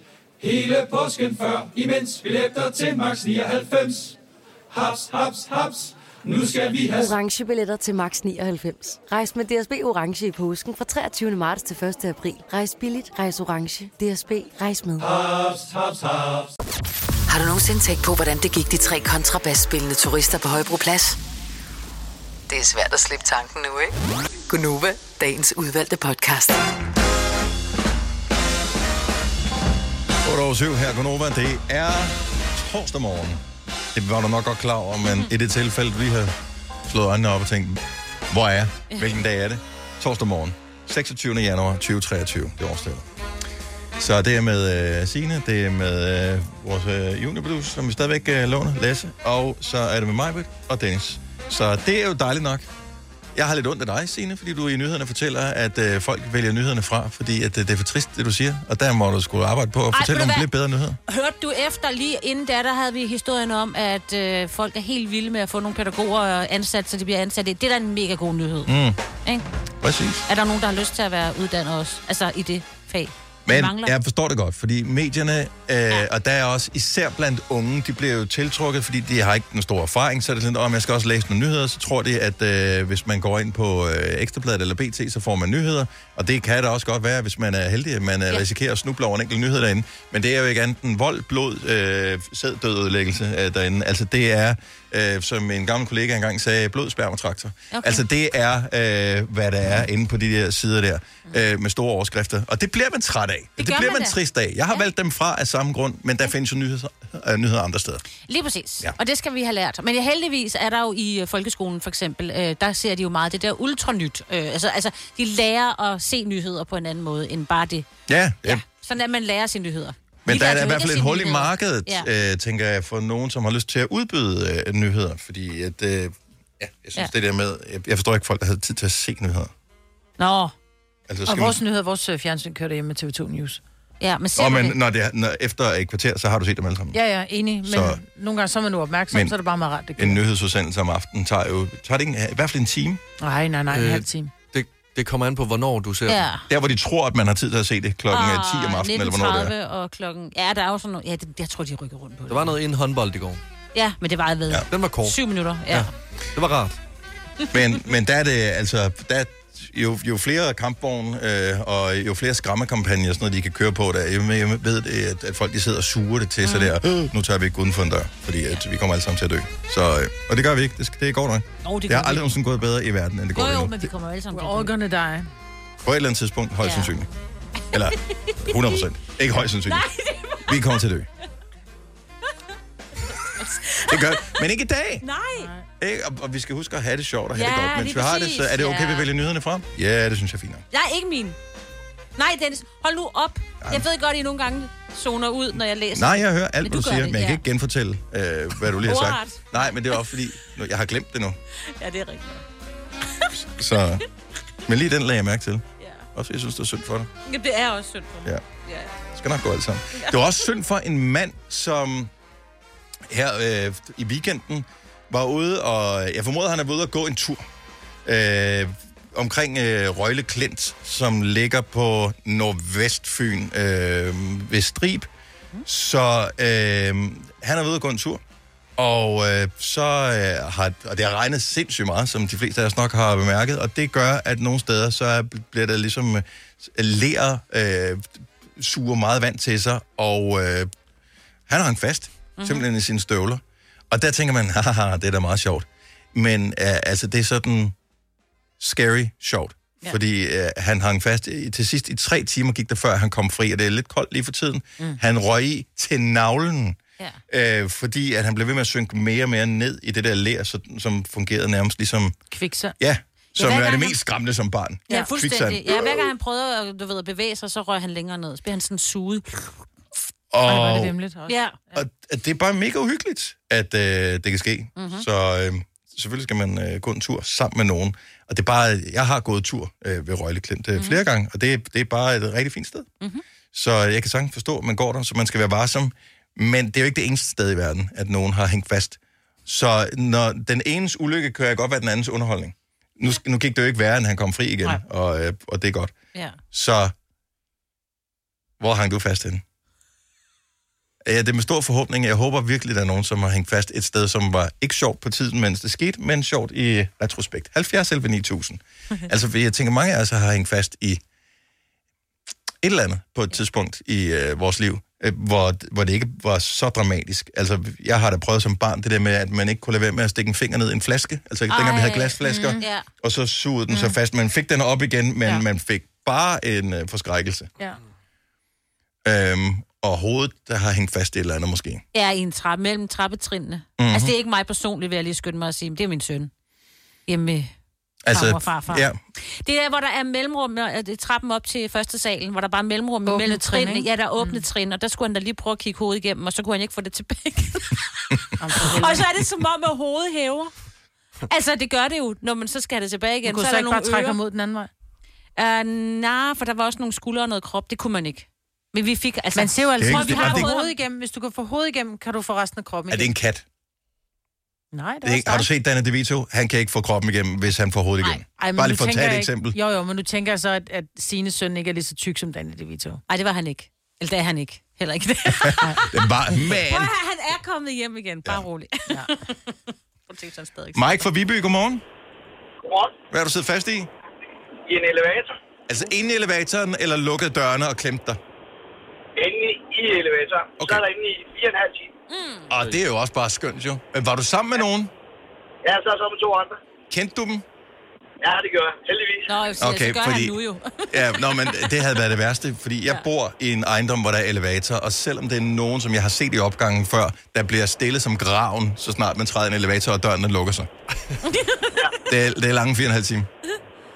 J: Hele påsken før, imens billetter til max 99. Haps, haps, haps. Nu skal vi have...
K: Orange billetter til max 99. Rejs med DSB Orange i påsken fra 23. marts til 1. april. Rejs billigt, rejs orange. DSB, rejs med.
J: Haps, haps, haps.
E: Har du nogensinde tænkt på, hvordan det gik de tre kontrabasspillende turister på Højbroplads? Det er svært at slippe tanken nu, ikke? Gunova, dagens udvalgte podcast.
A: 8 over 7 her, Gunova. Det er torsdag morgen. Det var du nok godt klar over, men
C: Mhm.
A: i det tilfælde, vi har slået øjnene op og tænkt, hvor er jeg? Hvilken dag er det? Torsdag morgen, 26. januar 2023. Det er årsdagen. Så det er med øh, Signe, det er med øh, vores øh, juniorproducer, som vi stadigvæk øh, låner, Lasse, og så er det med Majbrit og Dennis. Så det er jo dejligt nok. Jeg har lidt ondt af dig, Signe, fordi du i nyhederne fortæller, at øh, folk vælger nyhederne fra, fordi at, øh, det er for trist, det du siger. Og der må du skulle arbejde på at
C: Ej,
A: fortælle
C: ved du
A: nogle
C: hvad?
A: lidt bedre nyheder.
C: Hørte du efter lige inden da, der havde vi historien om, at øh, folk er helt vilde med at få nogle pædagoger øh, ansat, så de bliver ansat. i- Det er da en mega god nyhed.
A: Mm,
C: Ikke?
A: præcis.
C: Er der nogen, der har lyst til at være uddannet også? Altså i det fag?
A: Men
C: mangler.
A: jeg forstår det godt, fordi medierne, øh, ja. og der er også især blandt unge, de bliver jo tiltrukket, fordi de har ikke den store erfaring, så er det sådan, om jeg skal også læse nogle nyheder, så tror de, at øh, hvis man går ind på øh, Ekstrabladet eller BT, så får man nyheder, og det kan da også godt være, hvis man er heldig, at man ja. risikerer at snuble over en enkelt nyhed derinde, men det er jo ikke andet end vold, blod, øh, sæd, død, ødelæggelse øh, derinde. Altså det er, øh, som en gammel kollega engang sagde, blod, sperm og traktor. Okay.
N: Okay.
A: Altså det er, øh, hvad der er inde på de der sider der, øh, med store overskrifter, og det bliver man træt af. Det, det
C: gør
A: bliver
C: man
A: man
C: da.
A: trist af. Jeg har ja. valgt dem fra af samme grund, men der findes jo nyheder, øh, nyheder andre steder.
C: Lige præcis.
A: Ja.
C: Ja. Og det skal vi have lært. Men heldigvis er der jo i øh, folkeskolen for eksempel, øh, der ser de jo meget det der ultranyt. Øh, altså, altså, de lærer at se nyheder på en anden måde, end bare det.
A: Ja, ja. ja.
C: Sådan at man lærer sine nyheder.
A: Men
C: Vi lærte
A: der er da
C: jo
A: i hvert
C: ikke
A: fald
C: at
A: et
C: se
A: hul i
C: nyheder.
A: markedet, ja. øh, tænker jeg, for nogen, som har lyst til at udbyde øh, nyheder. Fordi at, øh, ja, jeg synes ja.
B: Ja.
A: det der med, jeg, jeg forstår ikke folk, der havde tid til at se nyheder.
C: Nå,
A: Altså,
B: og
A: skal
B: vores nyheder, vores øh, fjernsyn kører hjemme med TV2 News.
C: Ja, men
A: man, Nå, men når det er, når, efter et kvarter, så har du set dem alle sammen.
B: Ja, ja, enig. Men
A: Så-
B: så... nogle gange så er man nu opmærksom,
A: Men-
B: men... så er det bare meget rart, det
A: En
B: kører.
A: nyhedsudsendelse om aftenen tager jo, tager det ikke, en- i hvert fald en time.
B: Nej, nej, nej, en
A: Øh,
B: halv time.
D: Det, det kommer an på, hvornår du ser
C: Ja.
D: den.
A: Der, hvor de tror, at man har tid til at se det klokken
C: Og
A: er 10 om
C: Ah,
A: aftenen, eller hvornår det er.
C: 19.30 og klokken... Ja, der er jo sådan noget... Ja, det, jeg tror, de rykker rundt på det.
D: Der var noget inden håndbold i går.
C: Ja, men det var, jeg ved. Ja.
D: Den var kort.
C: Syv minutter, ja. ja.
D: Det var rart.
A: Men, men der er det, altså, der, jo, jo flere kampvogne øh, og jo flere skræmmekampagner, og sådan noget, de kan køre på, der, jeg, jeg ved, det, at, at folk de sidder og suger det til mm. sig der. "Øh, Nu tager vi ikke uden for en dør, fordi at vi kommer alle sammen til at dø. Så, øh, og det gør vi ikke. Det, skal- det går nok.
B: Jo, det
A: det
B: gør
A: har
B: vi.
A: aldrig nogensinde gået bedre i verden, end det går
B: Jo,
A: lige
B: jo,
A: nu.
B: men vi kommer alle sammen.
C: til
B: We're all gonna die.
A: På et eller andet tidspunkt, højst
B: Ja.
A: sandsynligt. Eller 100 procent. Ikke højst sandsynligt. Vi
B: <laughs>
A: kommer til at dø. Det gør, men ikke i dag.
C: Nej.
A: Ikke? Og, og vi skal huske at have det sjovt og have
C: Ja,
A: det godt. Mens
C: lige
A: vi har det,
C: præcis,
A: så er det okay,
C: ja.
A: vi vælger nyhederne frem? Ja, det synes jeg er fint. nok.
C: Nej, ikke min. Nej, Dennis, hold nu op. Jeg ved godt, I nogle gange zoner ud, når jeg læser.
A: Nej, jeg hører alt,
C: Men
A: hvad du,
C: gør
A: siger,
C: det,
A: men jeg
C: ja.
A: kan ikke genfortælle, øh, hvad du lige har sagt.
C: Ordret.
A: Nej, men det er også fordi, nu, jeg har glemt det nu.
C: Ja, det er rigtigt.
A: Så, men lige den lagde jeg mærke til. Også jeg synes, det er synd for dig.
C: Jamen, Det er også synd for mig.
A: Ja.
C: ja.
A: Det skal nok gå alt sammen. Det var også synd for en mand, som her øh, i weekenden var ude, og jeg formoder, han er ude at gå en tur øh, omkring øh, Røgle Klint, som ligger på Nordvestfyn øh, ved Strib. Så øh, han er ude at gå en tur, og øh, så øh, har og det har regnet sindssygt meget, som de fleste af os nok har bemærket, og det gør, at nogle steder, så er- bliver der ligesom øh, ler, øh, suger meget vand til sig, og øh, han hang fast,
C: Mhm.
A: mm-hmm. simpelthen i sine støvler. Og der tænker man, <laughs> haha, det er da meget sjovt. Men øh, altså, det er sådan scary sjovt. Ja. Fordi øh, han hang fast i, til sidst i tre timer gik der før han kom fri, og det er lidt koldt lige for tiden. Mm. Han røg i til navlen, ja. øh, fordi at han blev ved med at synke mere og mere ned i det der ler, så, som fungerede nærmest ligesom...
B: Kviksand.
A: Ja, som
C: hver
A: ja, er det
C: gang
A: mest skræmmende som barn.
C: Ja, ja
A: Kviksand.
C: fuldstændig. Ja, hver gang han prøvede at, du ved, at bevæge sig, så røg han længere ned. Så bliver han sådan suget.
A: Og,
C: Ja.
A: Og at det er bare mega uhyggeligt, at øh, det kan ske. Mm-hmm.
C: Mhm.
A: Så øh, selvfølgelig skal man øh, gå en tur sammen med nogen. Og det er bare, jeg har gået tur øh, ved Røgle Klint
C: Mhm.
A: øh, mm-hmm. flere gange, og det, det er bare et rigtig fint sted. Mm-hmm. Så jeg kan sagtens forstå, at man går der, så man skal være varsom. Men det er jo ikke det eneste sted i verden, at nogen har hængt fast. Så når den enes ulykke kan jeg godt være den andens underholdning. Nu, sk- nu gik det jo ikke værre, end han kom fri igen,
C: Nej.
A: og, øh, og det er godt.
C: Ja.
A: Så hvor hang du fast henne? Ja, det er med stor forhåbning. Jeg håber virkelig, der er nogen, som har hængt fast et sted, som var ikke sjovt på tiden, mens det skete, men sjovt i retrospekt. 70
C: <laughs>
A: 11 9000. altså, fordi jeg tænker, mange af os har hængt fast i et eller andet på et tidspunkt i øh, vores liv, øh, hvor, hvor det ikke var så dramatisk. Altså, jeg har da prøvet som barn det der med, at man ikke kunne lade være med at stikke en finger ned i en flaske. Altså, dengang vi havde glasflasker,
C: Mm, ja.
A: og så sugede den mm. så fast. Man fik den op igen, men ja. man fik bare en øh, forskrækkelse.
C: Ja.
A: Øhm, og hovedet, der har hængt fast i et eller andet måske.
C: ja, i en trappe, mellem trappetrinene.
A: Mhm.
C: Mm-hmm. Altså, det er ikke mig personligt, vil jeg lige skynde mig at sige, men det er min søn. Hjemme
A: Altså,
C: altså, farmor og farfar.
A: ja.
C: Det er, hvor der er mellemrum, og det er trappen op til første salen, hvor der bare er mellemrum
B: Åbne
C: mellem
B: trin,
C: trin.
B: ikke?
C: Ja, der er åbne mm. trin, og der skulle han da lige prøve at kigge hovedet igennem, og så kunne han ikke få det
B: <laughs>
C: tilbage. og så er det som om, at hovedet hæver. Altså, det gør det jo, når man så skal have det tilbage igen.
B: Du kunne
C: er
B: så
C: der
B: ikke
C: nogle
B: bare trække
C: ører.
B: ham ud den anden vej?
C: Uh, nej, for der var også nogle skuldre og noget krop. Det kunne man ikke. Men vi fik... Altså,
B: Man ser jo
A: Det er
B: altså,
A: ikke-
B: at vi
A: det er
B: har
A: ikke-
B: hovedet igennem. Hvis du kan få hovedet igennem, kan du få resten af kroppen
A: Er det en kat?
B: Nej, det
A: Det er ikke, har du set Danny DeVito? Han kan ikke få kroppen igennem, hvis han får hovedet igennem.
B: Ej, men
A: Bare
B: nu
A: lige for at
B: tænker
A: tage et
B: jeg
A: eksempel.
B: Ikke, jo, jo, men nu tænker jeg så, at, at Sines søn ikke er lige så tyk som Danny DeVito.
C: Nej, det var han ikke. Eller det er han ikke. Heller
B: <laughs>
C: ikke <laughs> det.
A: Det var,
C: Prøv at
A: man.
C: høre, han er kommet hjem igen. Bare ja. rolig. Ja. <laughs> Prøv at tænke, han stadig.
A: Mike fra Viby, godmorgen. Godmorgen. Hvad har du siddet fast i?
N: I en elevator.
A: Altså inde i elevatoren, eller lukkede dørene og klemte dig?
N: Inde i elevatoren. Okay. Så er der inde i fire og en halv time.
B: Mm.
A: Og det er jo også bare skønt, jo. Men var du sammen med nogen?
N: Ja, så er jeg så med to andre.
A: Kendte du dem?
N: Ja, det gør jeg. Heldigvis.
C: Nå, jeg
A: siger, Okay, så gør fordi- han nu
C: jo.
A: <laughs> Ja, nå, men det havde været det værste, fordi jeg bor i en ejendom, hvor der er elevator, og selvom det er nogen, som jeg har set i opgangen før, der bliver stille som graven, så snart man træder i en elevator, og døren den lukker sig. det, er, det er lange fire og en halv time.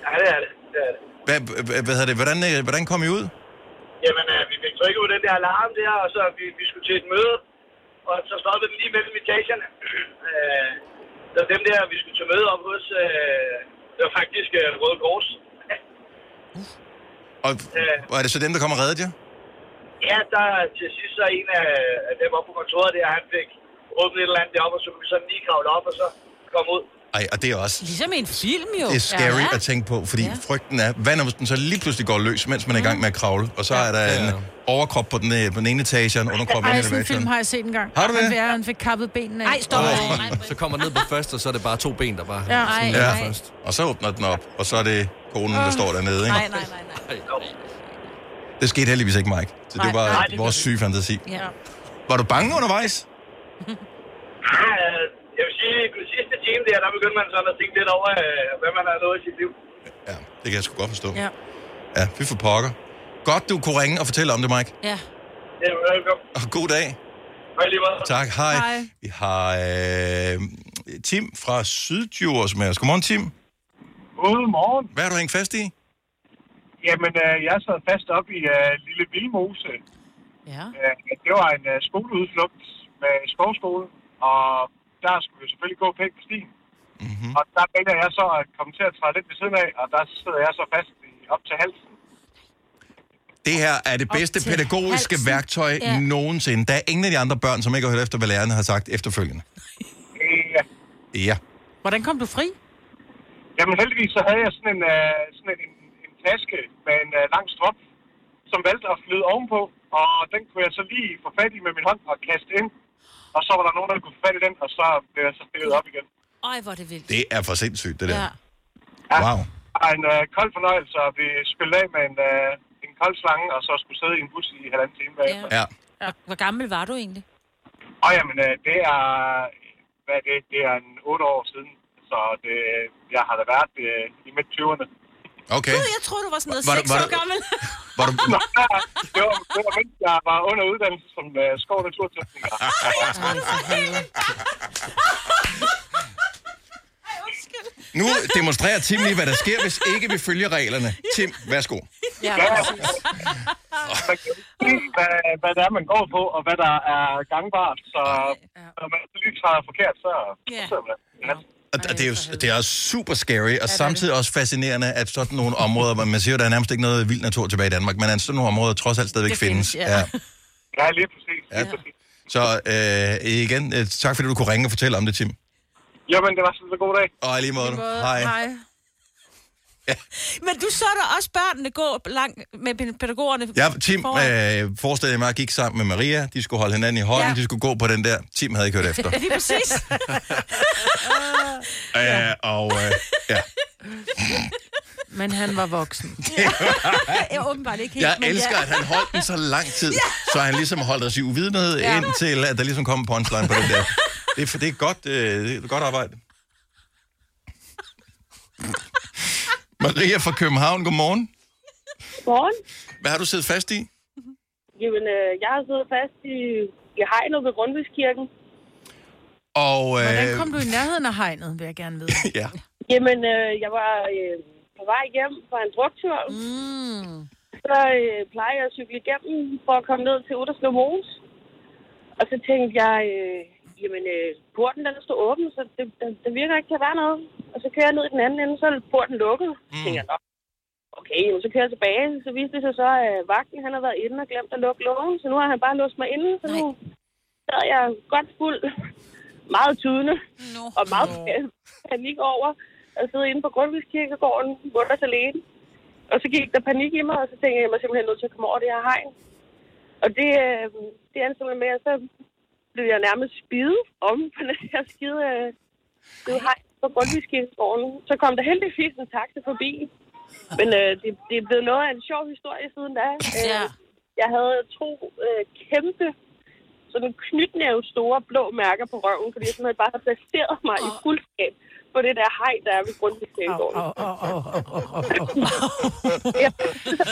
N: ja, det er det. det, er det.
A: Hvad, hvad, hvad hedder det? Hvordan, øh, hvordan kom I ud?
N: Jamen, øh, vi fik trykket på den der alarm der, og så vi, vi skulle til et møde. Og så stoppede den lige mellem etagerne. <clears throat> øh, så dem der, vi skulle til møde op hos, øh, det var faktisk øh, Røde Kors. Øh,
A: Og, og er det så dem, der kommer og redder jer?
N: Ja, der til sidst så en af, af dem oppe på kontoret der, han fik åbnet et eller andet deroppe, og så kunne vi sådan lige kravle op, og så komme ud.
A: Ej, og det er også
C: Ligesom i en film, jo.
A: det er scary
C: Ja.
A: at tænke på, fordi frygten er, hvad når den så lige pludselig går løs, mens man er i gang med at kravle, og så er der en overkrop på den, øh, på den ene etage, og en underkrop i
B: Ej, sådan en film
A: elevatoren.
B: har jeg set en gang.
A: Har du det?
B: Han, han fik kappet benene af.
C: Nej, stop.
D: Så kommer den ned på først, og så er det bare to ben, der bare...
B: Ja. Ej,
D: sådan
B: ej.
D: først.
A: Og så åbner den op, og så er det konen, der
D: Åh.
A: står dernede, ikke?
D: Nej,
C: nej,
D: nej.
A: Det skete heldigvis ikke, Mike. Så
N: Nej,
A: det var
N: nej, det gør
A: vores
N: det
A: syge fantasi.
C: Ja.
A: Var du bange undervejs?
N: Ah, Jeg vil sige, at den sidste time der, der begyndte man sådan at tænke lidt over, øh, hvad man har nået i sit liv.
A: Det kan jeg sgu godt forstå.
B: Ja.
A: Ja, vi får pokker. Godt, du kunne ringe og fortælle om det, Mike.
C: Ja.
N: Det er velkommen.
A: Og god dag.
N: Hej lige meget.
A: Tak, hej. Vi har øh, Tim fra Syddjurs med os. Godmorgen, Tim.
Q: Godmorgen.
A: Hvad har du hængt fast i?
Q: Jamen, øh, jeg sad fast op i øh, Lille Vildmose.
C: Ja.
Q: Øh, det var en øh, skoleudflugt med skovskole, og der skulle vi selvfølgelig gå pænt på stien.
A: Mhm.
Q: Mm-hmm. Og der vælger jeg så at komme til at træde lidt ved siden af, og der sidder jeg så fast i, op til halsen.
A: Det her er det bedste
Q: til
A: pædagogiske
Q: halsen.
A: værktøj
Q: Ja.
A: nogensinde. Der er ingen af de andre børn, som ikke har hørt efter, hvad lærerne har sagt efterfølgende.
Q: Ja.
A: Ja.
B: Hvordan kom du fri?
Q: Jamen, heldigvis så havde jeg sådan en, øh, sådan en, en taske med en øh, lang strop, som valgte at flyde ovenpå, og den kunne jeg så lige få fat i med min hånd og kaste ind. Og så var der nogen, der kunne få fat i den, og så blev jeg så stillet op igen.
C: Ej, hvor er det vildt.
A: Det er for sindssygt, det der.
C: Ja.
A: Wow.
Q: var en øh, kold fornøjelse at blive spillet af med en, øh, en kold slange, og så skulle sidde i en bus i halvanden time bagefter.
A: Ja.
C: Hvor, hvor gammel var du egentlig?
Q: Og jamen, øh, det er, hvad er det, det er en otte år siden, så det, jeg har da været øh, i midt 20'erne.
A: Okay.
C: Gud, jeg troede, du var sådan noget
Q: Var- var-
C: seks
Q: var-
C: år gammel.
A: Var du...
Q: det, var, det var mens jeg var under uddannelse som øh, skov- og naturtekniker.
A: Nu demonstrerer Tim lige, hvad der sker, hvis ikke vi følger reglerne. Tim, værsgo.
Q: Ja, præcis. Man kan jo ikke se, hvad, hvad det er, man går på, og hvad der er gangbart. Så når man lige træder forkert, så, så sidder man. Ja.
A: Og og det er jo det er også super scary, og samtidig også fascinerende, at sådan nogle områder, hvor man siger jo, der er nærmest ikke noget vild natur tilbage i Danmark, men at sådan nogle områder trods alt stadigvæk
Q: Det
A: findes.
Q: findes, ja. Ja, lige præcis.
A: Ja. Så øh, igen, øh, tak fordi du kunne ringe og fortælle om det, Tim.
Q: Jamen, det var sådan en god dag.
A: Og i lige måde. Hej.
C: <laughs> Men du så da også børnene gå langt med pædagogerne.
A: Ja, Tim
C: foran.
A: øh, forestillede jeg mig, at gik sammen med Maria. De skulle holde hinanden i hånden,
C: Ja.
A: ja. de skulle gå på den der. Tim havde ikke hørt efter.
C: <laughs> Lige
A: <laughs>
C: præcis.
A: ja. Øh, og øh, ja.
B: Men han var
A: <laughs>
B: voksen.
C: jeg er åbenbart ikke helt.
A: Jeg
C: men
A: elsker,
C: ja.
A: at han holdt den så lang tid, så han ligesom holdt os i uvidenhed,
C: Ja.
A: ja. indtil at der ligesom kom en punchline på den der. Det er, for- det er godt, øh, det er godt arbejde. Maria fra København, godmorgen.
L: Godmorgen.
A: Hvad har du siddet fast i?
L: Jamen, øh, jeg har siddet fast i, i hegnet ved Grundtvigskirken.
A: Og, øh,
B: Hvordan kom du i nærheden af hegnet, vil jeg gerne vide.
A: ja.
L: Jamen, øh, jeg var øh, på vej hjem fra en druktur. Mm. Så øh, plejer jeg at cykle igennem for at komme ned til Utterslev Mose. Og så tænkte jeg, øh, jamen, øh, porten den står åben, så det, der, der virker ikke til at være noget. Og så kører jeg ned i den anden ende, så er porten lukket. Mm. tænker jeg, "Nå, okay, jamen, så kører jeg tilbage. Så viste det sig så, at vagten han har været inde og glemt at lukke lågen, så nu har han bare låst mig inde. Så nu sad jeg godt fuld meget tydende no. og meget pa- panik over at sidde inde på Grundtvigskirkegården, mutters alene. Og så gik der panik i mig, og så tænkte jeg, at jeg var simpelthen nødt til at komme over det her hegn. Og det, øh, det endte simpelthen med, at så blev jeg nærmest spidet om på den her skide øh, skide hegn på Grundtvigskirkegården. Så kom der heldigvis en taxa forbi. Men øh, det, det er blevet noget af en sjov historie siden da. Øh,
C: Ja.
L: Jeg havde to øh, kæmpe sådan knytnæve store blå mærker på røven, fordi jeg simpelthen bare har placeret mig i fuldskab på det der hej, der er ved Grundtvigskirkegården. Ja.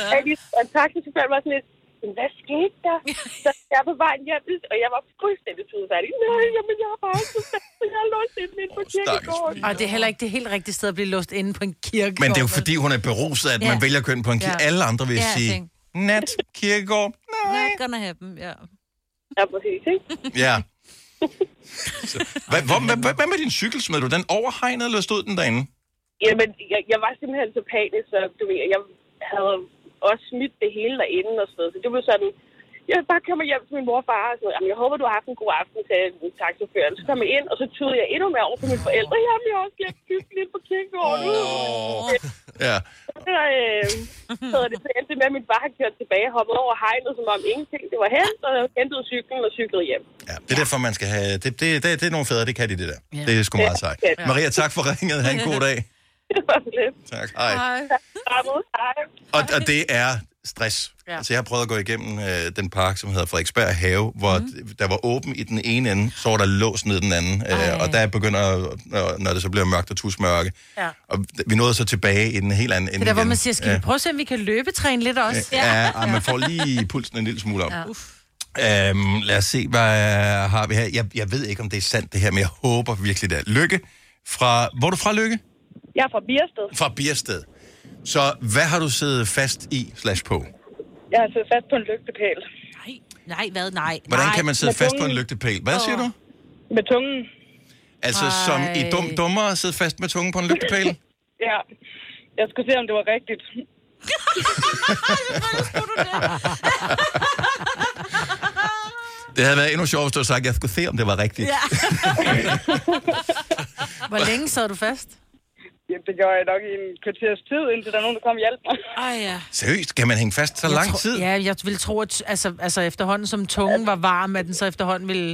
L: <laughs> Jeg lige- Og taxichaufføren var sådan lidt, "Men hvad skete der? Så jeg er på vejen hjem, og jeg var fuldstændig tudefærdig. Nej, jamen jeg har bare ikke forstand, så jeg har låst ind midt på kirkegården.
B: Og det er heller ikke det helt rigtige sted at blive låst inde på en kirke.
A: Men det er jo fordi, hun er beruset, at man
B: Ja.
A: vælger køn på en kirke.
B: Ja.
A: Alle andre vil
B: Ja,
A: sige,
B: tænk.
A: nat, kirkegård.
C: Nej. Not gonna happen, ja.
L: Ja, præcis, ikke?
A: Ja. <laughs> Så, Hvad, hvor, hvad, hvad, hvad med din cykel? Smed du den over hegnet, eller stod den derinde?
L: Jamen, jeg, jeg var simpelthen så panisk, så du ved, jeg havde også smidt det hele derinde og sådan noget. Så det blev sådan, jeg bare kommer hjem til min mor og far og sådan noget. Jamen, jeg håber, du har haft en god aften, sagde taxaføren. Så kom jeg ind, og så tydede jeg endnu mere over på mine forældre. Jamen, jeg har også glemt kysset lidt på kirkegården. Oh.
A: Ja.
L: Så, øh, så det så endte det med, at min far har kørt tilbage og hoppet over hegnet, som om ingenting det var hent, og hentede cyklen og cyklede hjem.
A: Ja, det er derfor, man skal have... Det, det, det, det er nogle fædre, det kan de, det der. Det er sgu meget sejt.
L: Ja.
A: Maria, tak for ringet. Ha' en god dag.
L: Det var så lidt.
A: Tak. Hej.
L: Hej.
A: Og, og det er stress. Ja.
L: Ja.
A: Altså, jeg har prøvet at gå igennem øh, den park, som hedder Frederiksberg Have, hvor mm. der var åben i den ene ende, så var der lås ned i den anden. Øh, og der begynder, når, når det så bliver mørkt og tusmørke.
B: Ja.
A: Og vi nåede så tilbage i den helt anden
B: Det
A: ende
B: er der, hvor
A: igen.
B: man siger, skal vi
A: Ja.
B: prøve at se, om vi kan løbetræne lidt også?
A: Ja, ja. og man får lige pulsen en lille smule op.
B: Ja.
A: Øhm, lad os se, hvad har vi her. Jeg, jeg ved ikke, om det er sandt det her, men jeg håber virkelig det er. Lykke fra... Hvor er du fra, Lykke?
L: Jeg er fra Biersted.
A: Fra Biersted. Så hvad har du siddet fast i slash på?
L: Jeg har siddet fast på en lygtepæl.
C: Nej, nej, hvad? Nej.
A: Hvordan
C: nej.
A: kan man sidde fast på en lygtepæl? Hvad siger du?
L: Med tungen.
A: Altså, som i
L: Ej.
A: dum dummere at sidde fast med tungen på en lygtepæl?
L: Ja, jeg skulle se, om det var rigtigt.
A: Det havde været endnu sjovt, hvis du havde sagt, jeg skulle se, om det var rigtigt.
B: Ja. Hvor længe sad du fast?
L: Jamen, det gjorde jeg nok i en kvarters tid, indtil der er nogen, der kom og hjalp mig.
C: Ej, ja.
A: Seriøst, kan man hænge fast så
B: Jeg
A: lang
B: tror-
A: tid?
B: Ja, jeg ville tro, at altså, altså efterhånden som tungen var varm, at den så efterhånden ville...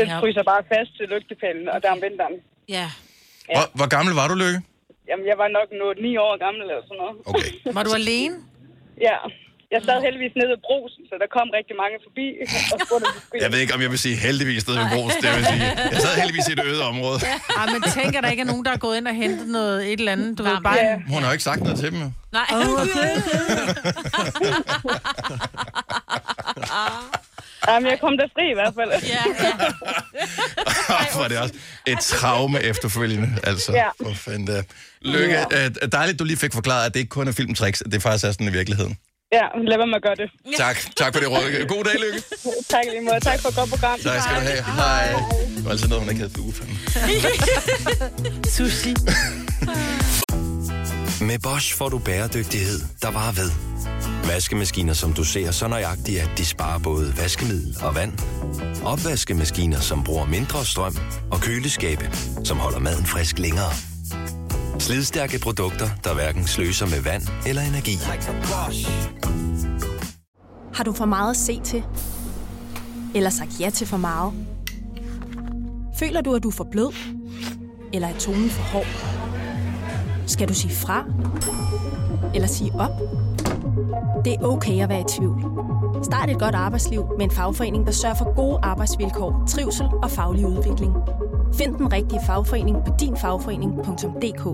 B: Den ja. fryser
L: bare fast til lygtepælen, og der om vinteren.
C: Ja.
A: Hvor, hvor gammel var du, Lykke?
L: Jamen, jeg var nok nu 9 år gammel eller sådan noget. <laughs>
A: Okay.
B: Var du alene?
L: Ja. Jeg sad heldigvis nede ved brosen, så der kom rigtig mange forbi og spurgte, om vi skulle
A: Jeg ved ikke, om jeg vil sige heldigvis nede ved Brugs. Det
B: <laughs>
A: vil sige. Jeg sad heldigvis i et øde område.
B: Ej, men tænk, at der ikke er nogen, der er gået ind og hentet noget, et eller andet. Du ved, bare...
A: Ja. Hun har jo ikke sagt noget til dem. jo.
C: Nej.
B: Åh, okay.
L: <laughs> Jamen, jeg kom der fri i hvert fald.
C: Ja,
A: Hvor er det også et traume efterfølgende. Altså,
L: Ja.
A: for fanden da. Lykke, øh, dejligt, du lige fik forklaret, at det ikke kun er filmtricks, at det faktisk er sådan i virkeligheden.
L: ja, lad være med at gøre det.
A: Tak. Tak for det råd. God dag, Lykke.
L: <laughs> tak lige måde. Tak for et godt program.
A: Tak skal du have. Hej. Det var altid noget, man ikke havde uge, fanden.
B: Sushi.
P: Med Bosch får du bæredygtighed, der varer ved. Vaskemaskiner, som du ser så nøjagtigt, at de sparer både vaskemiddel og vand. Opvaskemaskiner, som bruger mindre strøm. Og køleskabe, som holder maden frisk længere. Slidstærke produkter, der hverken sløser med vand eller energi.
R: Har du for meget at se til? Eller sagt ja til for meget? Føler du, at du er for blød? Eller er tonen for hård? Skal du sige fra? Eller sige op? Det er okay at være i tvivl. Start et godt arbejdsliv med en fagforening, der sørger for gode arbejdsvilkår, trivsel og faglig udvikling. Find den rigtige fagforening på dinfagforening.dk.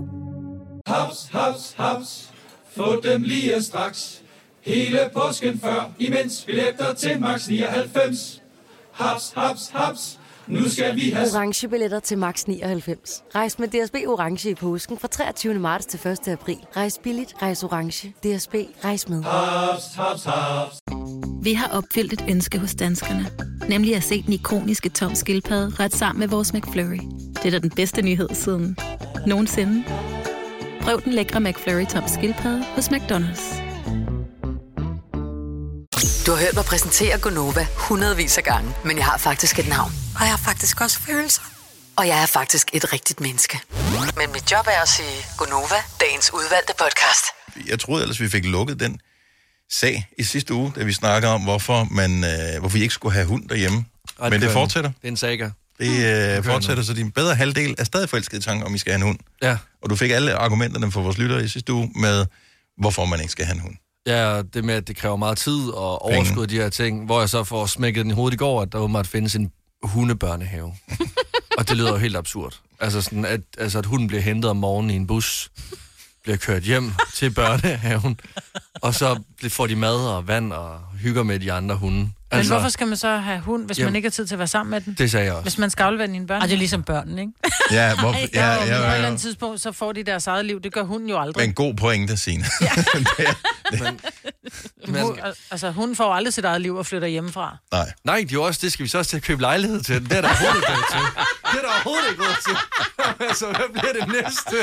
J: Haps, haps, haps. Få dem lige straks. Hele påsken før, imens billetter til max 99. Haps, haps, haps. Nu skal vi have...
K: orange billetter til max 99. Rejs med DSB orange i påsken fra 23. marts til 1. april. Rejs billigt, rejs orange. DSB rejs med.
J: Haps, haps, haps.
S: Vi har opfyldt et ønske hos danskerne. Nemlig at se den ikoniske tom skildpadde ret sammen med vores McFlurry. Det er da den bedste nyhed siden nogensinde. Prøv den lækre McFlurry tom skildpadde hos McDonald's.
E: Du har hørt mig præsentere Gonova hundredvis af gange, men jeg har faktisk et navn.
T: Og jeg har faktisk også følelser.
E: og jeg er faktisk et rigtigt menneske.
S: <laughs>
E: Men mit job er at sige Gunova, dagens udvalgte podcast.
A: Jeg troede ellers, vi fik lukket den sag i sidste uge, da vi snakkede om, hvorfor, man, øh, hvorfor vi ikke skulle have hund derhjemme.
D: Ej,
A: Men det
D: kører nu.
A: fortsætter.
D: Det er en saga.
A: Det øh,
D: kører
A: fortsætter, så din bedre halvdel er stadig forelsket i tanken, om I skal have en hund.
D: Ja.
A: Og du fik alle argumenterne fra vores lyttere i sidste uge med, hvorfor man ikke skal have en hund.
D: Ja, og det med, at det kræver meget tid og overskud og de her ting, hvor jeg så får smækket den i hovedet i går, at der åbenbart findes en
A: <laughs>
D: hundebørnehave. og det lyder jo helt absurd. Altså, sådan, at, altså, at hunden bliver hentet om morgenen i en bus, bliver kørt hjem til børnehaven, og så bl- får de mad og vand og hygger med de andre hunde.
B: Men altså, hvorfor skal man så have hund, hvis
D: Jamen,
B: man ikke har tid til at være sammen med den?
D: det sagde jeg også.
B: Hvis man skal aflevere den i en børn. Og det er ligesom børnene, ikke? <laughs>
A: Ja, hvor,
B: Ej,
A: ja,
B: jo, men På
A: ja,
B: et
A: ja,
B: eller
A: ja.
B: andet tidspunkt, så får de deres eget liv. Det gør hunden jo aldrig.
A: Men god pointe, Signe.
B: Men, hun, altså, hunden får jo aldrig sit eget liv og flytter hjemmefra.
A: Nej.
D: Nej, det er jo også, det skal vi så også til at købe lejlighed til. Det er der overhovedet ikke råd til.
A: <laughs>
D: <laughs> Det er der overhovedet ikke råd til. altså, hvad bliver det næste?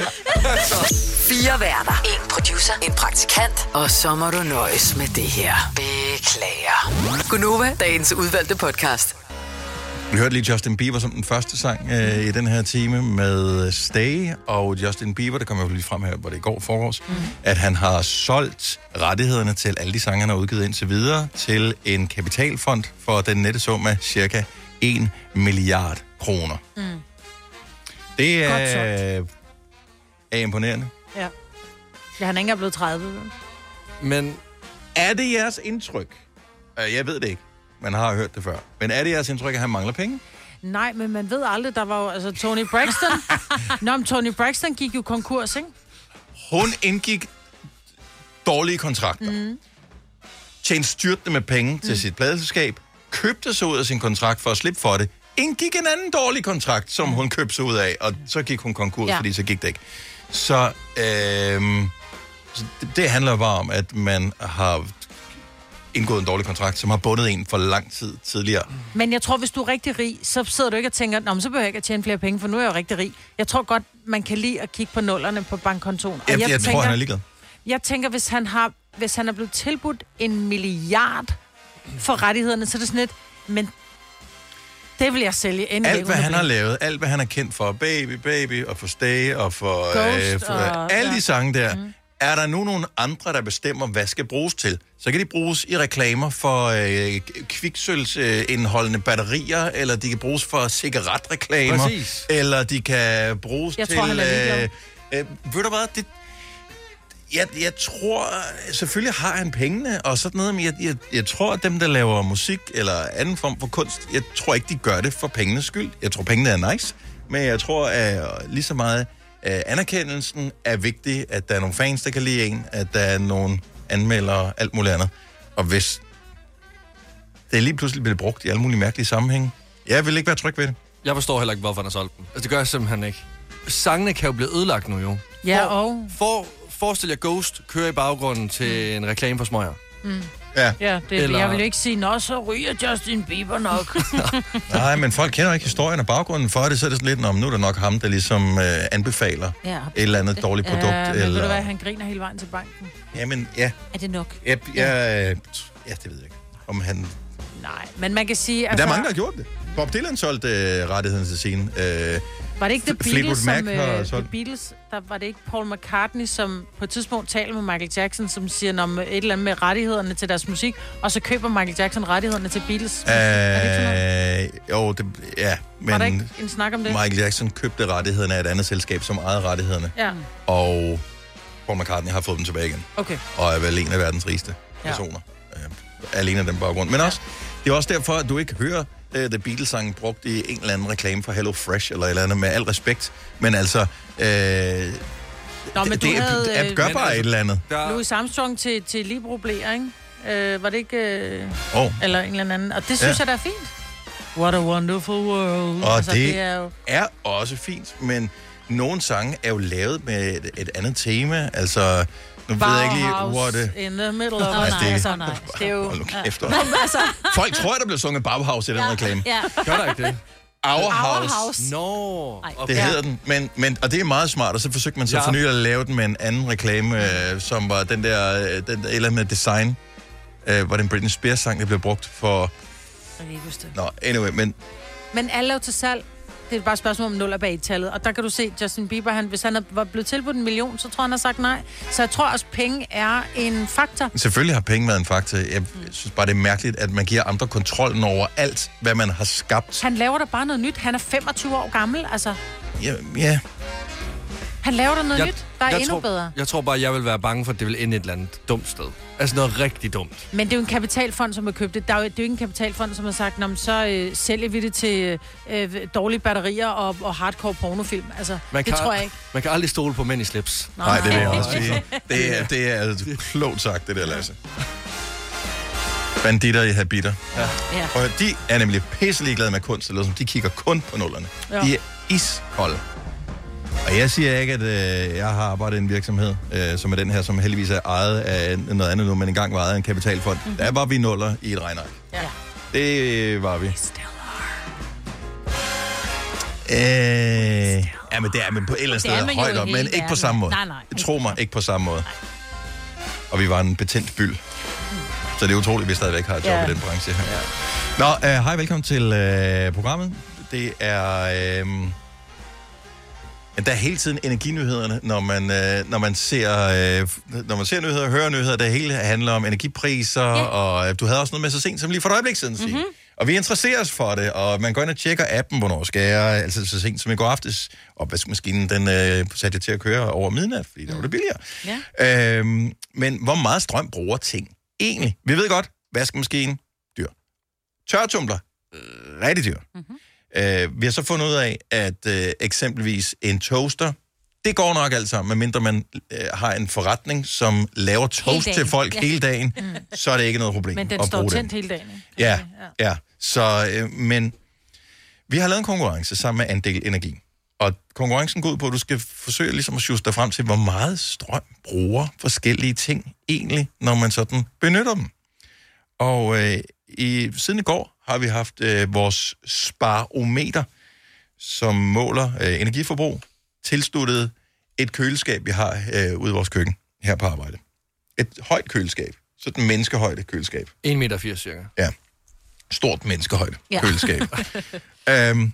E: Fire værter. En producer. En praktikant. Og så må du nøjes med det her. Beklager. Gunova, dagens udvalgte podcast.
A: Vi hørte lige Justin Bieber som den første sang øh, i den her time med Stay, og Justin Bieber, det kom jeg jo lige frem her, hvor det i går forårs, mm. at han har solgt rettighederne til alle de sange, han har udgivet indtil videre, til en kapitalfond for den nette sum af cirka 1 milliard kroner.
B: Mm.
A: Det
B: Godt
A: er, er imponerende.
B: Ja. ja han er ikke engang blevet 30. vel?
D: Men
A: er det jeres indtryk? Øh, Jeg ved det ikke. Man har hørt det før. Men er det jeres indtryk, at han mangler penge?
B: Nej, men man ved aldrig, der var jo, altså Tony Braxton.
A: <laughs>
B: Nå, men Tony Braxton gik jo konkurs, ikke?
A: Hun indgik dårlige kontrakter.
B: Mm.
A: Tjente styrtende med penge til sit pladeselskab. Købte sig ud af sin kontrakt for at slippe for det. Indgik en anden dårlig kontrakt, som hun købte sig ud af. Og så gik hun konkurs,
B: Ja.
A: ja. fordi så gik det ikke. Så, øhm, så det, det handler jo bare om, at man har indgået en dårlig kontrakt, som har bundet en for lang tid tidligere.
B: Men jeg tror, hvis du er rigtig rig, så sidder du ikke og tænker, Nå, men så behøver jeg ikke at tjene flere penge, for nu er jeg jo rigtig rig. Jeg tror godt, man kan lide at kigge på nullerne på bankkontoen. Og
A: Jeg, jeg, jeg tror, han er ligeglad.
B: Jeg tænker, hvis han, har, hvis han er blevet tilbudt en milliard for rettighederne, så er det sådan lidt, men det vil jeg sælge endelig.
A: Alt, hvad han har lavet, alt, hvad han er kendt for, Baby, Baby, og for Stay, og for,
B: Ghost
A: for
B: og-
A: alle
B: ja. Mhm.
A: de sange der, mm. er der nu nogle andre, der bestemmer, hvad skal bruges til? Så kan de bruges i reklamer for øh, kviksølvindholdende batterier, eller de kan bruges for cigaretreklamer,
D: Præcis.
A: eller de kan bruges
D: Jeg
A: til...
D: tror, han er ligeglad.
A: øh, øh, ved du hvad, det, jeg, jeg tror, selvfølgelig har han pengene og sådan noget, men jeg, jeg, jeg tror, at dem, der laver musik eller anden form for kunst, jeg tror ikke, de gør det for pengenes skyld. Jeg tror, pengene er nice, men jeg tror at lige så meget, at anerkendelsen er vigtig, at der er nogle fans, der kan lide en, at der er nogle anmeldere og alt muligt andet. Og hvis det lige pludselig bliver brugt i alle mulige mærkelige sammenhænge, jeg vil ikke være tryg ved det.
D: Jeg forstår heller ikke, hvorfor han har solgt den. Altså, det gør jeg simpelthen ikke. Sangene kan jo blive ødelagt nu, jo.
B: Ja, og...
D: For, forestil jer Ghost kører i baggrunden til en reklame for smøger.
B: Mm.
A: Ja.
B: Ja, det, Eller...
D: Eller-
B: jeg vil jo ikke sige, nå, så ryger Justin Bieber nok.
A: Nej, men folk kender ikke historien og baggrunden for det, så er det sådan lidt, "Nå, men nu er det nok ham, der ligesom øh, anbefaler
B: <laughs> Ja.
A: et eller andet dårligt produkt.
B: Ja, men
A: eller...
B: ved du hvad, han griner hele vejen til banken.
A: Jamen, ja.
B: Er det nok?
A: Jeg, jeg, øh, ja, det ved jeg ikke. Om han... Men
B: Nej, men man kan sige... altså-
A: der er mange, der har gjort det. Bob Dylan solgte øh, rettigheden til scenen. Øh,
B: Var det ikke The
A: Fleetwood
B: Beatles,
A: Mac
B: som,
A: har
B: øh, The
A: solgt-
B: Beatles, der var det ikke Paul McCartney, som på et tidspunkt taler med Michael Jackson, som siger om et eller andet med rettighederne til deres musik, og så køber Michael Jackson rettighederne til Beatles.
A: øh,
B: er det ikke sådan
A: jo, det, ja,
B: noget? Var der
A: Øh, men
B: ikke en snak om det?
A: Michael Jackson købte rettighederne af et andet selskab, som ejede rettighederne.
B: Ja,
A: Og Paul McCartney har fået dem tilbage igen.
B: okay.
A: og er vel en af verdens rigeste
B: Ja.
A: personer. Øh, alene af den baggrund. Men også, det er også derfor, at du ikke hører uh, The Beatles-sangen brugt i en eller anden reklame for Hello Fresh eller et eller andet, med al respekt. Men altså, øh,
B: Nå, men
A: det,
B: du
A: det
B: havde...
A: app gør bare et eller andet.
B: Der... Louis Armstrong til, til Libro blev, ikke? Øh, var det ikke... Øh,
A: Åh.
B: Eller en eller anden. Og det synes
A: Ja.
B: ja. jeg, der er fint. What a wonderful world.
A: Og
B: altså,
A: det,
B: det er jo...
A: er også fint, men nogle sange er jo lavet med et, et andet tema. Altså, nu ved jeg ikke lige, hvor det...
B: in the middle of...
A: Nå, nej,
B: det...
A: altså,
B: nej. Det er jo...
A: Hold nu kæft,
B: Ja.
A: hva'?
B: Men altså...
A: Folk tror, at der blev sunget Bauhaus i den reklame.
B: ja.
D: Gør der ikke det?
A: Our House.
D: Nå.
A: Det ja. hedder den, men, men, og det er meget smart, og så forsøgte man så
D: Ja.
A: ja. for nylig at lave den med en anden reklame, øh, som var den der, øh, den der et eller andet med design, øh, var den Britney Spears sang, der blev brugt for...
B: Jeg kan ikke huske det.
A: Nå, anyway, men
B: Men alle er jo til salg. det er bare et spørgsmål om 0 er bag i tallet. Og der kan du se, Justin Bieber, han, hvis han er- var blevet tilbudt en million, så tror jeg, han har sagt nej. Så jeg tror også, penge er en faktor.
A: Selvfølgelig har penge været en faktor. Jeg synes bare, det er mærkeligt, at man giver andre kontrollen over alt, hvad man har skabt.
B: Han laver da bare noget nyt. Han er 25 år gammel, altså.
A: Ja, ja.
B: Han laver da noget nyt, der er endnu
D: tror,
B: bedre.
D: Jeg tror bare, jeg vil være bange for, at det vil ende et eller andet dumt sted. Altså noget rigtig dumt.
B: Men det er jo en kapitalfond, som har købt det. Der er jo, det er jo ikke en kapitalfond, som har sagt, "Nå, men så øh, sælger vi det til øh, øh, dårlige batterier og, og hardcore pornofilm. Altså,
D: Man
B: det
D: kan,
B: tror jeg ikke.
D: Man kan aldrig stole på mænd i slips.
B: Nej, Nej, det vil jeg
A: også sige. Det er, det er altså klogt sagt, det der, Lasse. Banditter i habiter. Ja.
B: Ja.
A: Og de er nemlig pisselig glade med kunst, eller som de kigger kun på nullerne.
B: Ja.
A: Ja. De er iskolde. Og jeg siger ikke, at øh, jeg har arbejdet i en virksomhed, øh, som er den her, som heldigvis er ejet af noget andet nu, men engang var ejet af en kapitalfond.
B: Mhm.
A: Mm-hmm. Der var vi nuller i et regnark.
B: Ja.
A: Det var vi. Øh, ja, men det er man på et eller andet
B: Det er man
A: sted
B: jo
A: højt
B: i
A: op,
B: hele
A: men ikke på
B: verden.
A: samme måde.
B: Nej, nej, ikke
A: Tro mig, ikke på samme måde. Og vi var en betændt byld. Så det er utroligt, at vi stadigvæk har et job
B: Ja.
A: i den branche her. Nå, øh, hej, velkommen til øh, programmet. Det er... Øh, men der er hele tiden energinyhederne, når man, øh, når man, ser, øh, når man ser nyheder og hører nyheder, der hele handler om energipriser, ja. og øh, du havde også noget med så sent som lige for et øjeblik siden, mm-hmm. Og vi interesserer os for det, og man går ind og tjekker appen, hvornår skal jeg, altså så sent som i går aftes, opvaskemaskinen, den øh, satte jeg til at køre over midnat, fordi der var det billigere.
T: Ja.
A: Øhm, men hvor meget strøm bruger ting egentlig? Vi ved godt, vaskemaskinen, dyr. Tørretumbler, øh, rigtig dyr.
B: Mhm.
A: Øh, vi har så fundet ud af, at øh, eksempelvis en toaster, det går nok alt sammen, medmindre man øh, har en forretning, som laver toast til folk ja. hele dagen,
B: Mm.
A: så er det ikke noget problem
B: Men den
A: at
B: står
A: bruge den.
B: tændt hele dagen. ikke?
A: Ja, ja. Så, øh, men vi har lavet en konkurrence sammen med Andel Energi. Og konkurrencen går ud på, at du skal forsøge ligesom at sjuste dig frem til, hvor meget strøm bruger forskellige ting egentlig, når man sådan benytter dem. Og øh, i, siden i går har vi haft øh, vores sparometer, som måler øh, energiforbrug, tilsluttet et køleskab, vi har øh, ude i vores køkken her på arbejde. Et højt køleskab. Sådan en menneskehøjde køleskab.
D: 1,80 meter cirka.
A: Ja. Stort menneskehøjde
D: Ja.
A: ja. køleskab. øhm,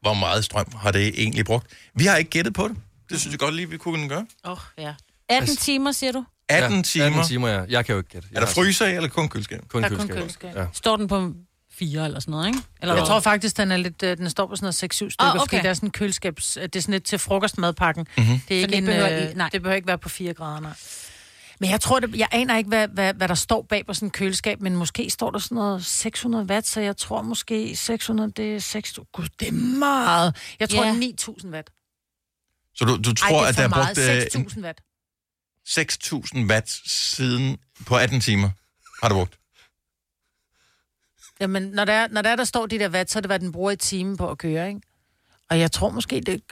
A: hvor meget strøm har det egentlig brugt? Vi har ikke gættet på det. Det synes jeg godt lige, vi kunne gøre.
C: Åh, oh, ja. 18 timer, siger du?
A: 18
D: Ja,
A: timer.
D: 18 timer, ja. Jeg kan jo ikke gætte.
A: Er der fryser i, eller kun køleskab?
D: Kun
C: Der er kun
D: køleskab.
C: køleskab.
D: Ja.
C: Står den på fire eller sådan noget, ikke? Eller
B: Eller jeg
C: hvad?
B: tror faktisk, den, er lidt, øh, den står på sådan noget 6-7 stykker,
C: Ah,
B: ah,
C: okay.
B: okay. fordi der er sådan en køleskabs... øh, Det er sådan lidt til frokostmadpakken.
C: Mhm.
A: Mm-hmm.
B: Det, er
C: Så
B: ikke
C: det
B: en,
C: behøver
B: behøver,
C: I-
B: nej. det behøver ikke være på 4 grader, nej. Men jeg tror, det, jeg aner ikke, hvad, hvad, hvad der står bag på sådan en køleskab, men måske står der sådan noget 600 watt, så jeg tror måske 600, det er 6... Gud, det er meget. Jeg tror,
C: Ja.
B: ja. 9000 watt.
A: Så du, du
B: Ej,
A: tror,
B: det er
A: at
B: for
A: der er
B: meget.
A: brugt øh,
B: 6000 watt.
A: en- 6.000 watt siden på 18 timer? Har du brugt?
B: Jamen, når der, når der, er, der står de der watt, så er det, hvad den bruger i timen på at køre, ikke? Og jeg tror måske, det...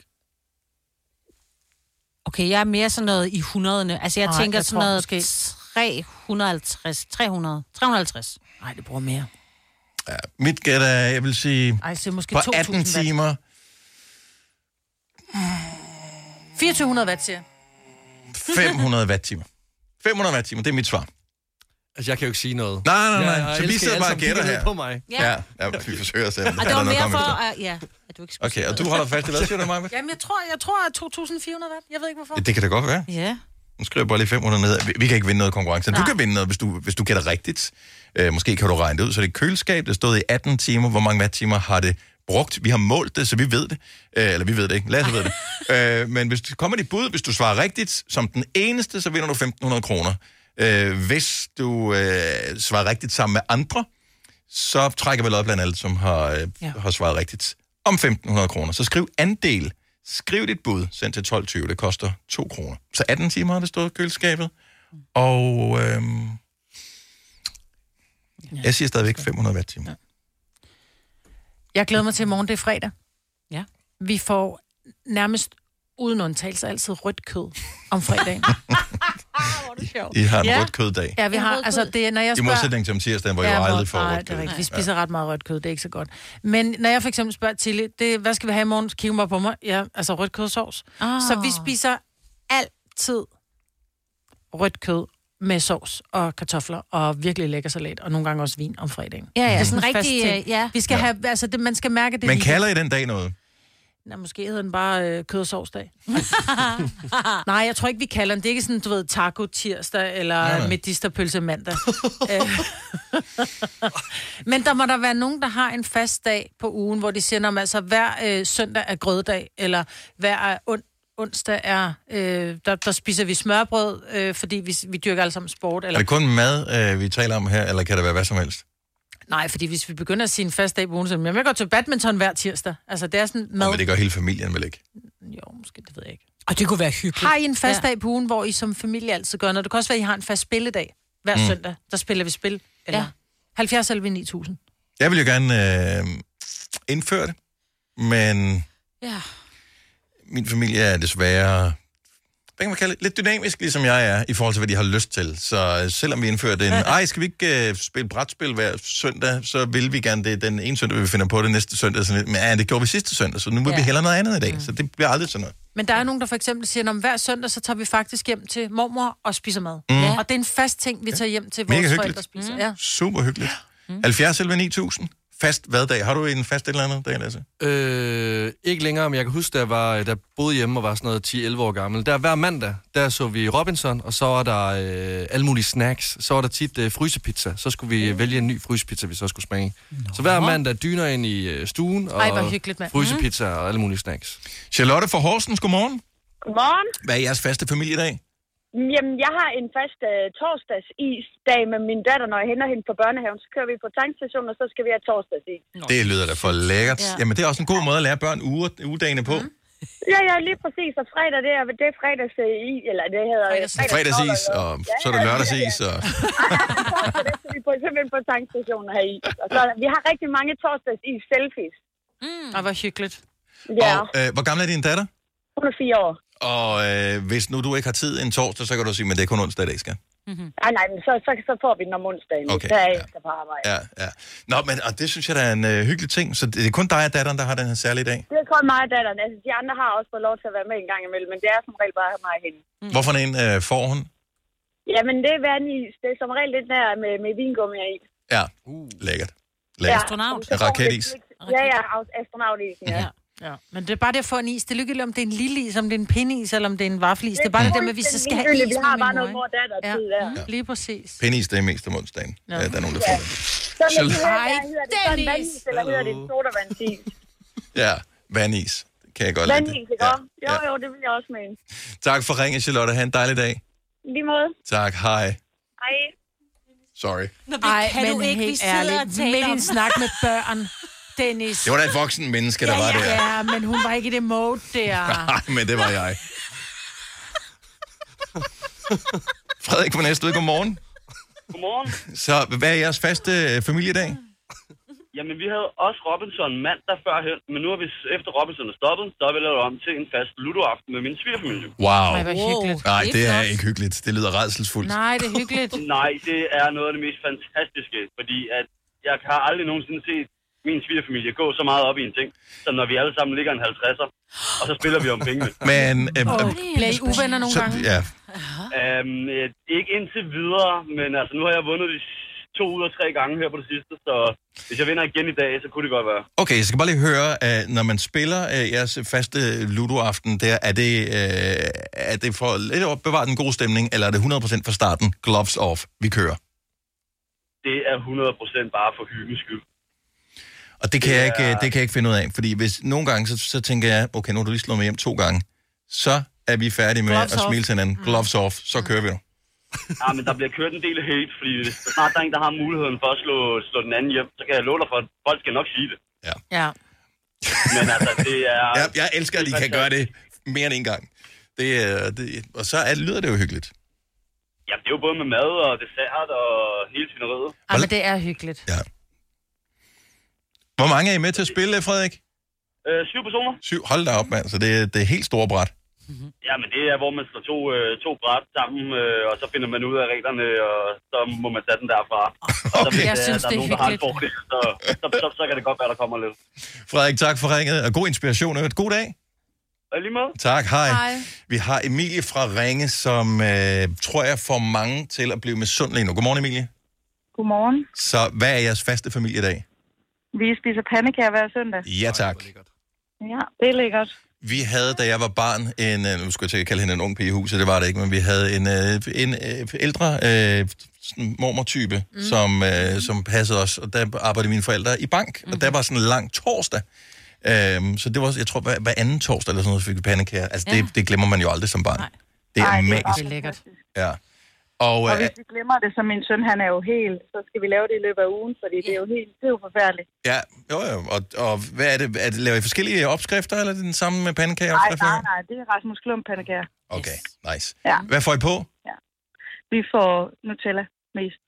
C: Okay, jeg er mere sådan noget i hundrederne. Altså, jeg
B: Nej,
C: Ej, tænker
B: jeg
C: jeg sådan
B: tror
C: noget
B: måske-
C: måske... 350, 300, 350.
B: Nej, det bruger mere.
A: Mit gæt er, jeg vil sige,
B: Ej, så måske
A: på
B: 2.000
A: 18
B: watt.
A: timer,
B: 2400 watt, siger jeg.
A: 500 watt-timer. 500 watt-timer, det er mit svar.
D: Altså, jeg kan jo ikke sige noget.
A: Nej, nej, nej.
D: Jeg- jeg
A: så vi
D: elsker,
A: sidder
D: alle
A: bare og
D: sammen
A: gætter
D: kigger ned
A: her.
D: På mig.
A: Ja. ja. ja vi forsøger selv.
C: Og det var mere for, at, ja, at du ikke skulle
A: Okay,
C: sige
A: og du
C: noget.
A: holder fast i hvad, siger du, Maja?
B: Jamen, jeg tror, jeg tror, at 2400 watt. Jeg ved ikke, hvorfor.
A: Ja, det kan da godt være.
C: Ja.
A: Nu skriver jeg bare lige 500 ned. Vi, vi kan ikke vinde noget konkurrence. Du
B: Nej.
A: kan vinde noget, hvis du, hvis du gætter rigtigt. Øh, måske kan du regne det ud. Så det er køleskab, der stod i 18 timer. Hvor mange watt-timer har det brugt? Vi har målt det, så vi ved det. Øh, eller vi ved det ikke. Lasse ved det. Øh, men hvis du kommer dit bud, hvis du svarer rigtigt, som den eneste, så vinder du 1.500 kroner. Øh, hvis du øh, svarer rigtigt sammen med andre, så trækker vi lod blandt alle, som har, øh, ja. har svaret rigtigt. Om 1.500 kroner. Så skriv andel. Skriv dit bud. Send til 12.20. Det koster 2 kroner. Så 18 timer har det stået i køleskabet. Og øhm, jeg siger stadigvæk 500 watt timer.
B: Jeg glæder mig til i morgen, det er fredag.
C: Ja.
B: Vi får nærmest uden undtagelse altid rødt kød om fredagen.
A: <laughs> I har en
B: Ja.
A: rødt køddag.
B: ja, vi har, altså det, er, når jeg
A: I
B: spørger...
A: modsætning til om tirsdagen, hvor ja, jeg jo aldrig får
B: nej,
A: rødt
B: det er
A: kød.
B: rigtigt. Vi spiser ret meget rødt kød, det er ikke så godt. Men når jeg for eksempel spørger Tilly, det, hvad skal vi have i morgen? Så Kigger hun bare på mig. Ja, altså rødt kødsovs.
C: Ah.
B: Så vi spiser altid rødt kød med sovs og kartofler og virkelig lækker salat, og nogle gange også vin om fredagen.
C: Ja, ja,
B: Det er
C: sådan
B: en fast
C: rigtig,
B: ting.
C: øh, ja.
B: Vi skal have, altså det, man skal mærke det.
A: Men
B: lige.
A: kalder I den dag noget?
B: Nå, måske hedder den bare øh, kødsovsdag. <laughs> Nej, jeg tror ikke, vi kalder den. Det er ikke sådan, du ved, taco tirsdag
T: Nej,
B: eller
T: nej.
B: medisterpølse mandag. Øh. <laughs> Men der må der være nogen, der har en fast dag på ugen, hvor de siger, om altså hver øh, søndag er grøddag, eller hver er on onsdag er, øh, der, der spiser vi smørbrød, øh, fordi vi, vi dyrker alle sammen sport. Eller...
A: Er det kun mad, øh, vi taler om her, eller kan det være hvad som helst?
B: Nej, fordi hvis vi begynder at sige en fast dag på ugen, så jamen, jeg går til badminton hver tirsdag. Altså, det er sådan mad.
A: Mad. Men det gør hele familien vel ikke?
B: Jo, måske, det ved jeg ikke.
T: Og det kunne være hyggeligt.
B: Har I en fast ja. dag på ugen, hvor I som familie altid gør noget? Det kan også være, at I har en fast spilledag hver
A: Mm.
B: mm. søndag. Der spiller vi spil. Eller ja. 70 eller 9000.
A: Jeg vil jo gerne øh, indføre det, men
C: Ja.
A: min familie er desværre, hvad kan man kalde det, lidt dynamisk, ligesom jeg er, i forhold til, hvad de har lyst til. Så øh, selvom vi indfører <laughs> den, ej, skal vi ikke øh, spille brætspil hver søndag, så vil vi gerne det den ene søndag, vi finder på det næste søndag. er Sådan lidt, men ja, det gjorde vi sidste søndag, så nu vil ja.
B: Ja.
A: vi hellere noget andet i dag. Mm. Så det bliver aldrig sådan noget.
B: Men der er nogen, der for eksempel siger, at hver søndag, så tager vi faktisk hjem til mormor og spiser mad.
A: Mm. Ja.
B: Og det er en fast ting, vi tager hjem til
A: Mega
B: vores forældre og
A: hyggeligt.
B: spiser. Mm. Ja.
A: Super hyggeligt. Mm. 70 11 9000. Fast hvad dag? Har du en fast et eller andet dag, Lasse?
D: Øh, ikke længere, men jeg kan huske, da jeg, var, øh, da jeg boede hjemme og var sådan noget 10-11 år gammel. Der hver mandag, der så vi Robinson, og så var der øh, alle mulige snacks. Så var der tit øh, frysepizza. Så skulle vi øh, vælge en ny frysepizza, vi så skulle smage. Nå. Så hver mandag dyner ind i øh, stuen, og
B: Ej, hvor hyggeligt, mand.
D: frysepizza og alle mulige snacks.
A: Charlotte fra Horsens, godmorgen.
L: Morgen.
A: Hvad er jeres faste familiedag?
L: Jamen, jeg har en fast uh, torsdagsis-dag med min datter, når jeg henter hende på børnehaven. Så kører vi på tankstationen, og så skal vi have torsdagsis.
A: Det lyder da for lækkert. Ja. Jamen, det er også en god måde at lære børn uge- ugedagene på. Mm.
L: Ja, ja, lige præcis. Og fredag, det er, det er fredags øh, i, eller det hedder... Fredags,
A: Fredagsis, og så er der lørdagsis, og
L: Så vi på, simpelthen på tankstationen her i. Og så, vi har rigtig mange torsdagsis-selfies.
B: Mm. Og hvor hyggeligt.
L: Ja,
A: øh, hvor gammel er din datter?
L: hun er fire år.
A: Og øh, hvis nu du ikke har tid en torsdag, så kan du sige, men det er kun onsdag i dag, skal.
L: Nej, Ah, nej, men så, så, så får vi den om onsdagen.
A: Okay,
L: Der er jeg ja. på arbejde.
A: Ja, ja. Nå, men og det synes jeg, der er en øh, hyggelig ting. Så det, det er kun dig og datteren, der har den her særlige dag.
L: Det er kun mig og datteren. Altså, de andre har også fået lov til at være med en gang imellem, men det er som regel bare mig og hende.
A: Mm. Hvorfor en øh, får hun?
L: Jamen, det er vandis. Det er som regel lidt nær med, med vingummier i.
A: Ja, uh. lækkert. lækkert. Raketis.
L: Ja, ja, aus- astronautisen, ja.
B: Ja. Men det er bare det at få en is. Det er lykkeligt, om det er en lille is, om det er en pindeis, eller om det er en vaffelis. Det er bare det der med, at vi så skal have is
L: ligegyldigt.
B: med
L: Vi har
B: min
L: bare
B: mor,
L: noget
B: ikke?
L: mor og datter
B: ja.
L: tid der.
B: Mm. Lige præcis.
A: Penis, det er mest om onsdagen. Ja. der er nogen, der får det.
L: Så med
A: Charlotte-
L: det her, der hedder det sådan
B: Dennis!
L: vandis, eller hedder det en sodavandsis.
A: Ja, vandis. Det kan jeg godt lide.
L: Vandis, ikke også? Jo, jo, det vil jeg også mene.
A: Tak for ringen, Charlotte. Ha' en dejlig dag.
L: I Lige måde.
A: Tak, hej.
L: Hej.
A: Sorry.
C: Nå, det
B: Ej,
C: kan
B: men
C: du ikke, vi
B: helt
C: sidder
B: ærligt,
C: og taler
B: midt i
C: om.
B: en snak med børn. Dennis.
A: Det var da et voksen menneske, der
B: ja,
A: var
B: ja,
A: der.
B: Ja, men hun var ikke i det mode der.
A: <laughs> Nej, men det var jeg. Frederik fra Næstved, godmorgen.
U: Godmorgen.
A: Så hvad er jeres faste øh, familiedag?
U: Jamen, vi havde også Robinson mandag førhen, men nu har vi, efter Robinson er stoppet, så har vi lavet om til en fast ludoaften med min svigerfamilie.
A: Wow.
U: Ej, hvor hyggeligt.
A: Nej,
U: Det er
A: det er
U: flot.
A: ikke hyggeligt. Det lyder redselsfuldt.
B: Nej, det er hyggeligt.
U: <laughs> Nej, det er noget af det mest fantastiske, fordi at jeg har aldrig nogensinde set min svigerfamilie gå så meget op i en ting, som når vi alle sammen ligger en 50'er, og så spiller vi om
B: <gasps>
U: pengene.
A: Men... Øh, øh,
B: Bliver I uvenner nogle
A: så,
B: gange?
A: ja.
U: Øhm, øh, ikke indtil videre, men altså, nu har jeg vundet de to ud af tre gange her på det sidste, så hvis jeg vinder igen i dag, så kunne det godt være.
A: Okay, jeg skal bare lige høre, øh, når man spiller øh, jeres faste ludoaften der, er det, øh, er det for lidt at bevare den gode stemning, eller er det 100% fra starten, gloves off, vi kører?
U: Det er 100% bare for hyggens skyld.
A: Og det kan, jeg ikke, øh, det kan jeg ikke finde ud af, fordi hvis nogle gange, så, så tænker jeg, okay, nu har du lige slået mig hjem to gange, så er vi færdige med
U: Gloves
A: at
U: off. Mm.
A: smile til hinanden. Gloves off, så kører vi nu.
U: Ja, men der bliver kørt en del hate, fordi så snart der er en, der har muligheden for at slå, slå den anden hjem, så kan jeg love dig for, at folk skal nok sige det.
B: Ja.
U: Men altså, det er...
A: Jeg, jeg elsker, at I kan gøre det mere end en gang. Det, er- det, og så er, lyder det jo hyggeligt.
U: Jamen, det er jo både med mad og dessert og hele svineriet.
B: Ej, men det er hyggeligt.
A: Ja. Hvor mange er I med til at spille, Frederik?
U: Øh, syv personer?
A: Syv. Hold da op, mand. Så det, er- det er helt store bræt.
U: Jamen, det er, hvor man slår to, øh, to bræt sammen, øh, og så finder man ud af reglerne, og så må man tage den derfra. Og så,
A: Jeg
U: øh,
A: synes,
U: der
A: det er
U: nogen, der har en fordel, så, så, så, så, kan det godt være, der kommer lidt.
A: Frederik, tak for ringet, og god inspiration. og God dag.
U: Og lige måde.
A: Tak, hej.
U: Hej.
A: Vi har Emilie fra Ringe, som øh, tror jeg får mange til at blive misundelige nu. Godmorgen, Emilie.
V: Godmorgen.
A: Så hvad er jeres faste familiedag?
V: Vi spiser pandekager hver søndag.
A: Ja, tak.
L: Ja, det er lækkert.
A: Vi havde, da jeg var barn, en, øh, nu skulle jeg til at kalde hende en ung pige i huset, det var det ikke, men vi havde en, øh, en øh, ældre øh, sådan mormor-type, mm. som, øh, som passede os, og der arbejdede mine forældre i bank, mm. og
L: Mhm.
A: der var sådan en lang torsdag, Øhm, så det var, også- jeg tror, hver, hver anden torsdag eller sådan noget, så fik vi pandekager. Altså, ja.
L: Ja.
A: det, det glemmer man jo aldrig som barn. Nej. Det er
L: Ej,
A: Ej,
L: det er
A: magisk.
L: bare lækkert.
A: Ja. Og,
L: Og
A: og øh,
L: hvis vi glemmer det, så min søn, han er jo helt, så skal vi lave det i løbet af ugen, fordi det er jo helt, det er jo forfærdeligt.
A: ja, jo, jo, og, og hvad er det? Er det laver I forskellige opskrifter, eller er det den samme med pandekager?
L: Nej, nej, nej, det er Rasmus Klump, han er
A: Okay, nice.
L: Ja.
A: Hvad får I på?
L: Vi får Nutella mest.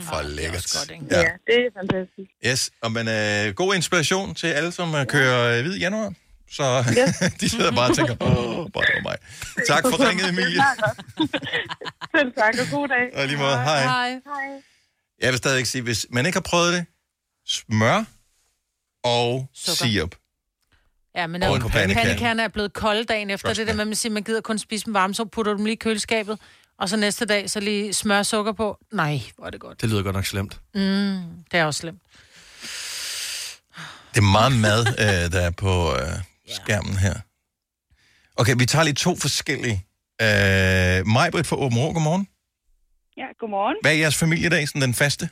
A: For lækkert. Godt, ikke?
L: <laughs> Ja.
A: Ja.
L: ja, det er fantastisk.
A: Yes, og men øh, god inspiration til alle, som øh, kører øh, hvid januar. Så <laughs> de sidder bare og tænker, åh, bare det var mig. Tak for ringet, Emilie.
L: <laughs> Selv tak, og god dag.
A: Og i lige måde, hej.
L: Hej.
A: Jeg vil stadigvæk sige, hvis man ikke har prøvet det, smør og
B: Sukker.
A: sirup.
B: Ja, men
A: Oven
B: når
A: på pandekagerne.
B: pandekagerne er blevet kolde dagen efter,
A: Trust
B: det er det med, at man siger, man gider kun spise dem varme, så putter du dem lige i køleskabet, og så næste dag, så lige smør og sukker på. Nej, hvor er det godt.
D: Det lyder godt nok slemt.
B: Mm, det er også slemt.
A: Det er meget mad, øh, der er på øh, skærmen her. Okay, vi tager lige to forskellige. Øh, Majbrit fra Åben Rå, godmorgen.
T: Ja, godmorgen.
A: Hvad er jeres familiedag, sådan den faste?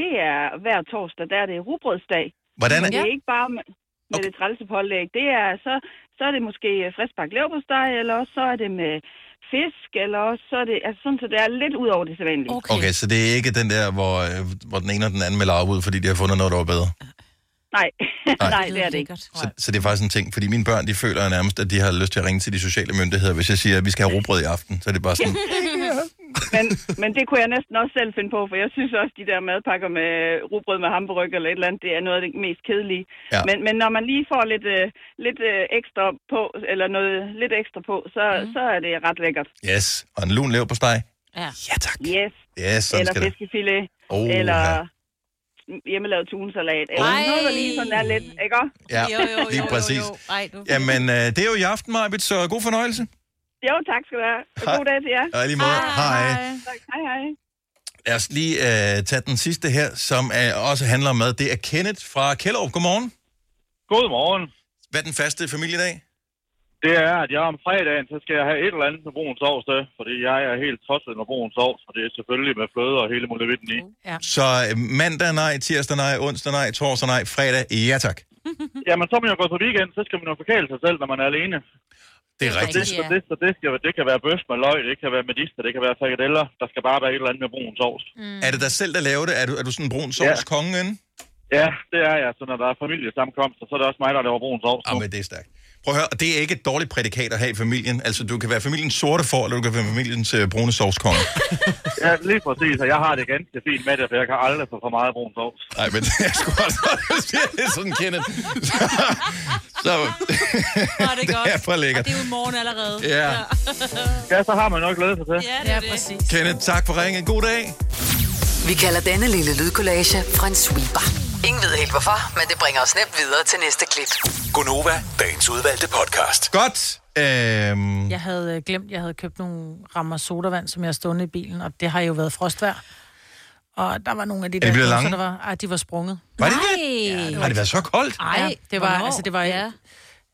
T: Det er hver torsdag, der er det rugbrødsdag.
A: Hvordan er-
T: Men det? er ikke bare med, med okay. det trælse pålæg. Det er, så, så er det måske friskbagt leverpostej, eller også så er det med fisk, eller også så er det, altså sådan, så det er lidt ud over det sædvanlige.
A: Okay. okay, så det er ikke den der, hvor, øh, hvor den ene og den anden melder afbud, fordi de har fundet noget, der var bedre.
T: Nej, <laughs> nej, det er det <laughs> ikke.
A: Så, så det er faktisk en ting, fordi mine børn, de føler nærmest, at de har lyst til at ringe til de sociale myndigheder, hvis jeg siger, at vi skal have rugbrød i aften. Så er det bare
T: <laughs>
A: sådan,
T: men, men det kunne jeg næsten også selv finde på, for jeg synes også, de der madpakker med rugbrød med hamburg eller et eller andet, det er noget af det mest kedelige.
A: Ja.
T: Men, men når man lige får lidt, øh, lidt øh, ekstra på, eller noget lidt ekstra på, så, mm. så er det ret lækkert.
A: yes, og en lun lever på steg.
T: Ja,
A: ja tak.
T: Yes.
A: Ja, sådan
T: eller
A: skal det.
T: fiskefilet,
A: Oha.
T: eller hjemmelavet tunsalat, eller
A: Ej.
T: noget, der lige sådan er lidt, ikke?
A: Ja, Jo, jo, jo, lige jo, præcis. jo.
T: Ej, du...
A: Jamen, øh, det er jo i aften, Marbet, så god fornøjelse.
T: Jo, tak skal du have. Og
A: Hej.
T: God dag til jer.
A: Og i lige måde. Hej. Hej.
T: Tak. Hej, hej.
A: Lad os lige øh, tage den sidste her, som er, også handler om mad. Det er Kenneth fra Kjellerup. Godmorgen.
V: Godmorgen.
A: Hvad er den faste familiedag?
V: Det er, at jeg om fredagen, så skal jeg have et eller andet med brun sovs til, fordi jeg er helt tosset med brun sovs, og det er selvfølgelig med fløde og hele muligheden i.
B: Ja.
A: Så øh, mandag nej, tirsdag nej, onsdag nej, torsdag nej, fredag ja tak.
V: Jamen, så er man jo gået på weekend, så skal man jo forkæle sig selv, når man er alene.
A: Det er rigtigt.
V: Så det, så det, så det, skal, det kan være bøf med løg, det kan være medister, det kan være frikadeller. Der skal bare være et eller andet med brun sovs.
A: Mm. Er det dig selv, der laver det? Er du, er du sådan en brun sovs kongen?
V: Ja, det er jeg. Så når der er familiesamkomst, så er det også mig, der laver brun sovs.
A: Ja, men det er stærkt. Prøv at høre, og det er ikke et dårligt prædikat at have i familien. Altså, du kan være familiens sorte får, eller du kan være familiens øh, brune sovskonge.
V: Ja, lige præcis. Og jeg har det ganske fint med det, for jeg kan aldrig få for meget brun sovs.
A: Nej, men <laughs> det er sgu også <laughs> det er sådan, Kenneth. Så, <laughs> så
C: Hvor er det godt.
A: <laughs> det er for
C: Og
A: lækkert.
C: det er jo i morgen allerede.
A: Ja. <laughs>
V: Ja, så har man nok glæde sig til.
C: Ja, det er det. præcis.
A: Kenneth, tak for ringen. God dag.
E: Vi kalder denne lille lydkollage en sweeper. Ingen ved helt hvorfor, men det bringer os nemt videre til næste klip.
F: Gunova, dagens udvalgte podcast.
A: Godt. Øhm,
B: Jeg havde øh, glemt, jeg havde købt nogle rammer sodavand, som jeg har stående i bilen, og det har jo været frostvær. Og der var nogle af de
A: Er de
B: der,
A: blevet
B: dåser,
A: lange?
B: der var, ej, de var sprunget.
A: Var det
B: det? Ja,
A: har det været så koldt?
B: Nej, ja, det var,
C: hvornår?
B: altså det var, ja.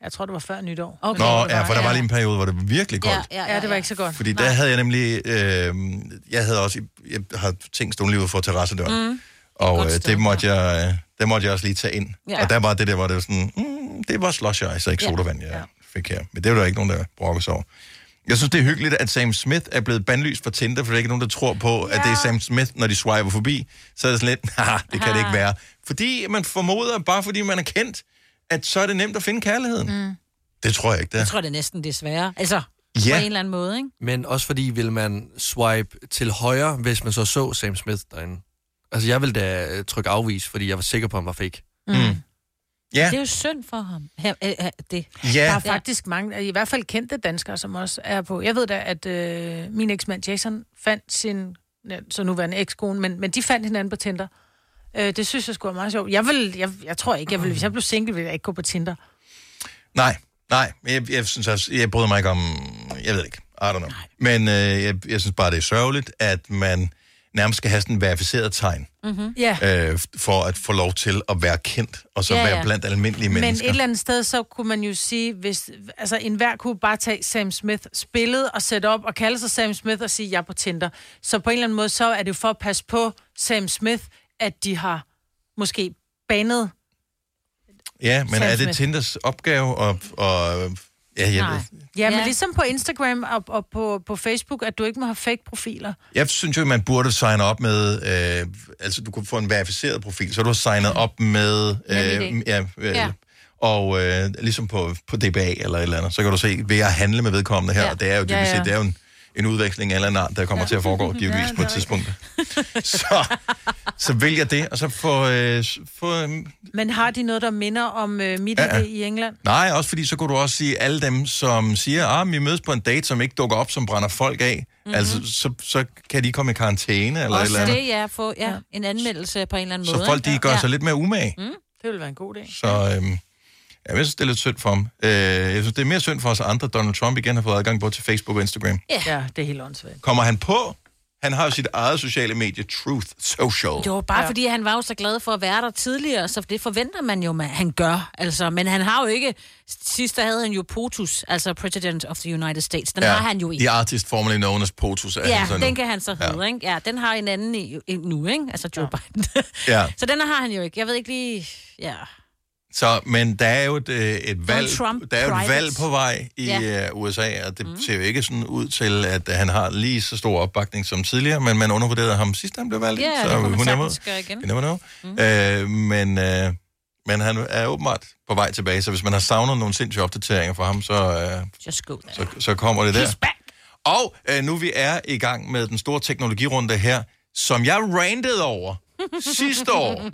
B: jeg tror det var før nytår.
A: Okay. Nå, ja, for der var lige en periode, hvor det var virkelig koldt.
B: Ja, ja, ja, ja, det var ikke så godt.
A: Fordi der havde jeg nemlig, øh, jeg havde også, jeg har ting stående lige ude for terrassedøren. Mm. Og øh, det, måtte jeg, øh, det måtte jeg også lige tage ind.
B: Ja.
A: Ja. Og der var det der, hvor det var sådan, mm, det var slush ice, og ikke
B: Ja.
A: ja. sodavand, jeg ja. fik her. Men det var der ikke nogen, der brokker sig over. Jeg synes, det er hyggeligt, at Sam Smith er blevet bandlyst fra Tinder, for der er ikke nogen, der tror på, ja. at det er Sam Smith, når de swiper forbi. Så er det sådan lidt, <laughs> nej, det kan
B: Ah.
A: det ikke være. Fordi man formoder, bare fordi man er kendt, at så er det nemt at finde kærligheden. Mm. Det tror jeg ikke, det er.
C: Jeg tror, det er næsten det er sværere. Altså,
A: Ja.
C: på en eller anden måde, ikke?
D: Men også fordi vil man swipe til højre, hvis man så så Sam Smith derinde. Altså, jeg ville da øh, trykke afvis, fordi jeg var sikker på, at han var fake.
C: Mm. Mm.
A: Ja.
C: Det er jo synd for ham. Her, øh, øh, det.
D: Ja.
B: Der er faktisk mange, i hvert fald kendte danskere, som også er på. Jeg ved da, at øh, min eksmand Jason fandt sin, ja, så nu var en ekskone, men, men de fandt hinanden på Tinder. Øh, det synes jeg skulle være meget sjovt. Jeg, vil, jeg, jeg tror ikke, jeg vil, hvis jeg blev single, ville jeg ikke gå på Tinder.
A: Nej, nej. men Jeg, jeg synes også, jeg bryder mig ikke om... Jeg ved ikke. I don't know. Men øh, jeg, jeg synes bare, det er sørgeligt, at man nærmest skal have sådan en verificeret tegn,
B: Mm-hmm. Ja.
A: øh, for at få lov til at være kendt, og så ja,
B: Ja,
A: ja.
B: ja.
A: være blandt almindelige mennesker.
B: Men et eller andet sted, så kunne man jo sige, hvis, altså enhver kunne bare tage Sam Smith spillet og sætte op og kalde sig Sam Smith og sige, jeg er på Tinder. Så på en eller anden måde, så er det jo for at passe på Sam Smith, at de har måske banet.
A: Ja, men
B: Sam
A: er det
B: Smith.
A: Tinders opgave? Og, og, ja, jeg, ved,
B: Ja, men ligesom på Instagram og, og på, på Facebook, at du ikke må have fake profiler.
A: Jeg synes jo, man burde signe op med, øh, altså du kunne få en verificeret profil, så du har signet op med, øh,
B: NemID.
A: ja, øh, <laughs>
B: Ja.
A: ja. og øh, ligesom på, på DBA eller et eller andet, så kan du se, vil jeg handle med vedkommende her, ja.
B: Ja.
A: og det er jo dybest
B: Ja,
A: ja,
B: ja.
A: ja. set, det er jo en, en udveksling af en eller anden art, der kommer ja. til at <laughs> foregå givetvis ja, på et tidspunkt. <laughs> Så, så vælg jeg det, og så få, øh, få øh,
B: Men har de noget, der minder om øh, mit
A: Ja,
B: ja,
A: ja.
B: i England?
A: Nej, også fordi så kunne du også sige, alle dem, som siger, at ah, vi mødes på en date, som ikke dukker op, som brænder folk af, mm-hmm. altså, så, så kan de komme i karantæne eller et
C: Mhm. Også
A: eller andet.
C: det, ja, få ja, en anmeldelse på en eller anden måde.
A: Så folk, de
C: ikke?
A: gør
C: ja.
A: sig lidt mere umage.
C: Mm,
B: det ville være en god idé.
A: Så øhm, ja, jeg synes, det er lidt synd for ham. Øh, jeg synes, det er mere synd for os andre. Donald Trump igen har fået adgang både til Facebook og Instagram.
B: Ja, ja det er helt åndssvagt.
A: Kommer han på? Han har jo sit eget sociale medie, Truth Social.
C: Jo, bare ja. fordi han var jo så glad for at være der tidligere, så det forventer man jo, at han gør. Altså, men han har jo ikke... Sidst der havde han jo POTUS, altså President of the United States. Den ja. har han jo ikke.
A: The artist formerly known as POTUS. er
C: Ja,
A: han så nu.
C: den kan han så hedde, ja. ikke? Ja, den har en anden i, i, nu, ikke? Altså Joe ja. Biden.
A: Ja.
C: Så den har han jo ikke. Jeg ved ikke lige... Ja.
A: Så, men der er jo et, øh, et valg,
C: Trump
A: der er jo et
C: private.
A: valg på vej i
C: Ja.
A: ja. USA, og det mm. ser jo ikke sådan ud til, at øh, han har lige så stor opbakning som tidligere, men man undervurderede ham sidst, han blev valgt.
C: Ja,
A: så
C: det kunne man
A: who
C: sagtens gøre igen.
A: You never know. Mm. Øh, men, øh, men han er åbenbart på vej tilbage, så hvis man har savnet nogle sindssyge opdateringer fra ham, så, øh,
C: Just go there.
A: så, så kommer det der. Og øh, nu vi er i gang med den store teknologirunde her, som jeg rantede
C: <laughs>
A: over sidste år,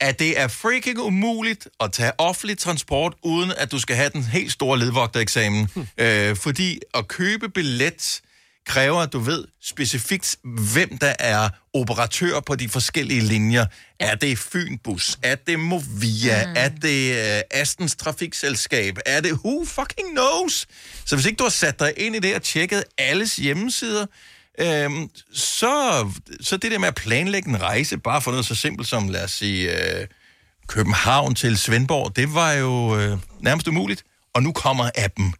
A: at det er freaking umuligt at tage offentlig transport, uden at du skal have den helt store ledvogtereksamen. Øh, fordi at købe billet kræver, at du ved specifikt, hvem der er operatør på de forskellige linjer. Er det Fynbus? Er det Movia? Mm. Er det øh, Astens Trafikselskab? Er det who fucking knows? Så hvis ikke du har sat dig ind i det og tjekket alles hjemmesider, Øhm, så, så det der med at planlægge en rejse, bare for noget så simpelt som, lad os sige, øh, København til Svendborg, det var jo øh, nærmest umuligt. Og nu kommer appen.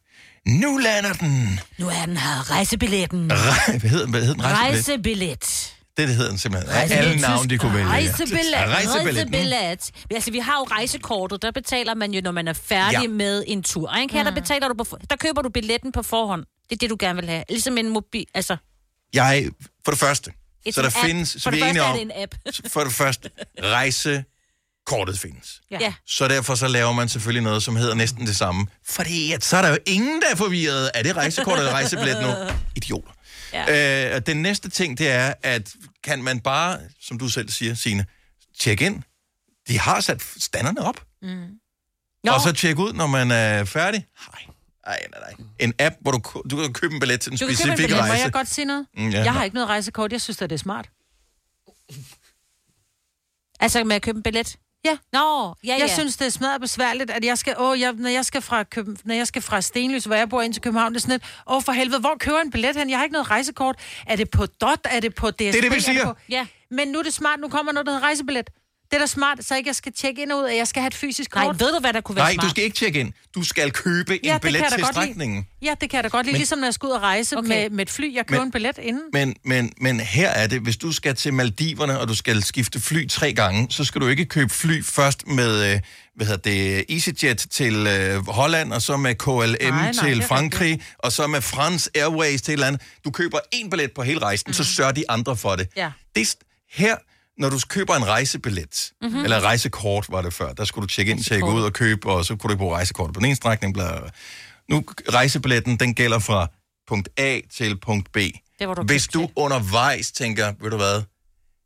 A: Nu lander den.
C: Nu er den her. Rejsebilletten.
A: Rej- hvad hedder den? Hvad hedder den? Rejsebillet.
C: Rejsebillet.
A: Det, det hedder den simpelthen. Af alle navne, de kunne vælge. ja.
C: Rejsebillet.
A: Ja,
C: Rejsebillet.
A: Rejsebillet. Mm.
C: Rejsebillet. Altså, vi har jo rejsekortet. Der betaler man jo, når man er færdig
A: Ja.
C: ja. med en tur. Ikke?
B: Mm.
C: Her, der, betaler du på, for- der køber du billetten på forhånd. Det er det, du gerne vil have. Ligesom en mobil... Altså,
A: Jeg, for det første,
C: et
A: så der
C: en app.
A: findes,
C: For
A: så
C: det
A: vi er
C: første
A: enige
C: er
A: om,
C: det en app. <laughs>
A: for det første, rejsekortet findes.
C: Ja. ja.
A: Så derfor så laver man selvfølgelig noget, som hedder næsten det samme. Fordi at, så er der jo ingen, der er forvirret. Er det rejsekort eller rejsebillet nu?
B: <laughs>
A: Idioter. Ja. Øh, og den næste ting, det er, at kan man bare, som du selv siger, Signe, tjekke ind. De har sat standerne op.
C: Mm.
A: Jo. Og så tjekke ud, når man er færdig. Nej, nej, nej. En app, hvor du, ku- du kan købe en billet til en
B: Du kan købe en
A: specifik
B: billet, må
A: rejse.
B: jeg godt sige noget?
A: Mm, ja.
B: jeg har ikke noget rejsekort, jeg synes, at det er smart.
C: Altså med at købe en billet?
B: Ja.
C: Nå, ja,
B: Jeg
C: ja.
B: synes, det er smadret besværligt, at jeg skal, åh, jeg, når, jeg skal fra Køben, når jeg skal fra Stenløs, hvor jeg bor ind til København, det er sådan lidt, åh, for helvede, hvor kører jeg en billet hen? Jeg har ikke noget rejsekort. Er det på DOT? Er det på DSB?
A: det, vi
B: Er
A: siger.
B: på... Ja. Men nu er det smart, nu kommer noget, der hedder rejsebillet. Det er da smart, så ikke jeg skal tjekke ind og ud, at jeg skal have et fysisk kort. Nej,
C: ved du, hvad der kunne
A: Nej, du skal ikke tjekke ind. Du skal købe
B: Ja,
A: en
B: det kan
A: billet
B: jeg da
A: til
B: godt lide.
A: strækningen.
B: Ja, det kan jeg da godt lide,
A: Men-
B: men... ligesom når jeg skal ud og rejse okay. med, med et fly. Jeg køber
A: Men-
B: en billet inden.
G: Mhm.
A: Men, men, men her er det, hvis du skal til Maldiverne, og du skal skifte fly tre gange, så skal du ikke købe fly først med øh, hvad hedder det, EasyJet til øh, Holland, og så med KLM
G: Nej, nej,
A: nej,
G: det er
A: til
G: rigtigt.
A: Frankrig, og så med France Airways til et eller andet. Du køber én billet på hele rejsen, mm-hmm.
G: Mhm.
A: så sørger de andre for det.
B: Ja.
A: det er st- her, når du køber en rejsebillet,
B: Mhm.
A: mm-hmm. eller rejsekort var det før, der skulle du tjekke ind, tjekke ud og købe, og så kunne du ikke bruge rejsekortet på den ene strækning. Bla, bla, bla. Nu, rejsebilletten, den gælder fra punkt A til punkt B.
C: Det var du
A: Hvis du undervejs tænker, ved du hvad,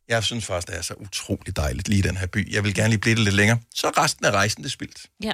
A: jeg synes faktisk, det er så utrolig dejligt lige i den her by. Jeg vil gerne lige blive det lidt længere. Så er resten af rejsen det er spildt.
C: Ja.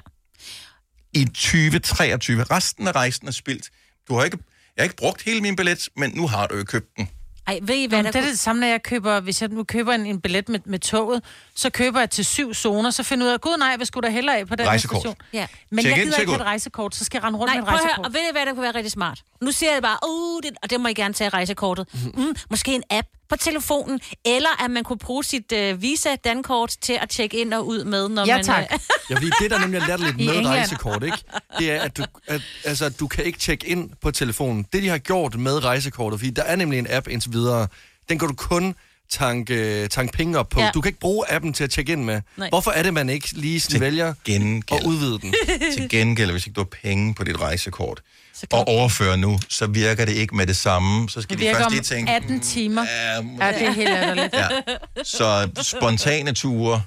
A: I 2023, resten af rejsen er spildt. Du har ikke, jeg har ikke brugt hele min billet, men nu har du jo købt den.
C: Ej, ved I
B: hvad, det er det samme, når jeg køber, hvis jeg nu køber en, en billet med, med toget, så køber jeg til syv zoner, så finder jeg ud af, gud nej, hvad skulle der hellere af på den her
A: Rejsekort.
B: station?
C: Ja.
B: Men
A: Tjek
B: jeg
A: ind,
B: gider
A: tjek
B: ikke have
A: ud.
B: et rejsekort, så skal jeg rende rundt
C: Nej,
B: med et
C: prøv at høre,
B: rejsekort.
C: og
A: Mm-hmm.
C: ved I hvad, der kunne være rigtig smart? Nu siger jeg bare, uh, det, og det må I gerne tage rejsekortet. Mm, måske en app, på telefonen, eller at man kunne bruge sit øh, Visa-dankort til at tjekke ind og ud med, når
B: Ja,
C: man...
B: tak.
C: Øh, <laughs>
D: Ja, fordi det, der nemlig er latterligt
C: I
D: med
C: England.
D: rejsekort, ikke? Det er, at du, at, altså, at du kan ikke tjekke ind på telefonen. Det, de har gjort med rejsekortet, fordi der er nemlig en app indtil videre, den kan du kun tanke, øh, tanke penge op på.
C: Ja.
D: Ja. Du kan ikke bruge appen til at tjekke ind med.
C: Nej.
D: Nej. Hvorfor er det, man ikke lige sådan vælger
A: gengæld.
D: at udvide den?
A: <laughs> Til gengæld, hvis ikke du har penge på dit rejsekort og overfører nu, så virker det ikke med det samme. Så skal
B: Det
A: de Mm.
B: virker
A: først
B: om
A: lige tænke,
B: 18 timer.
A: Ja,
B: Ja, det er helt ærgerligt.
A: <laughs> Ja. så spontane ture,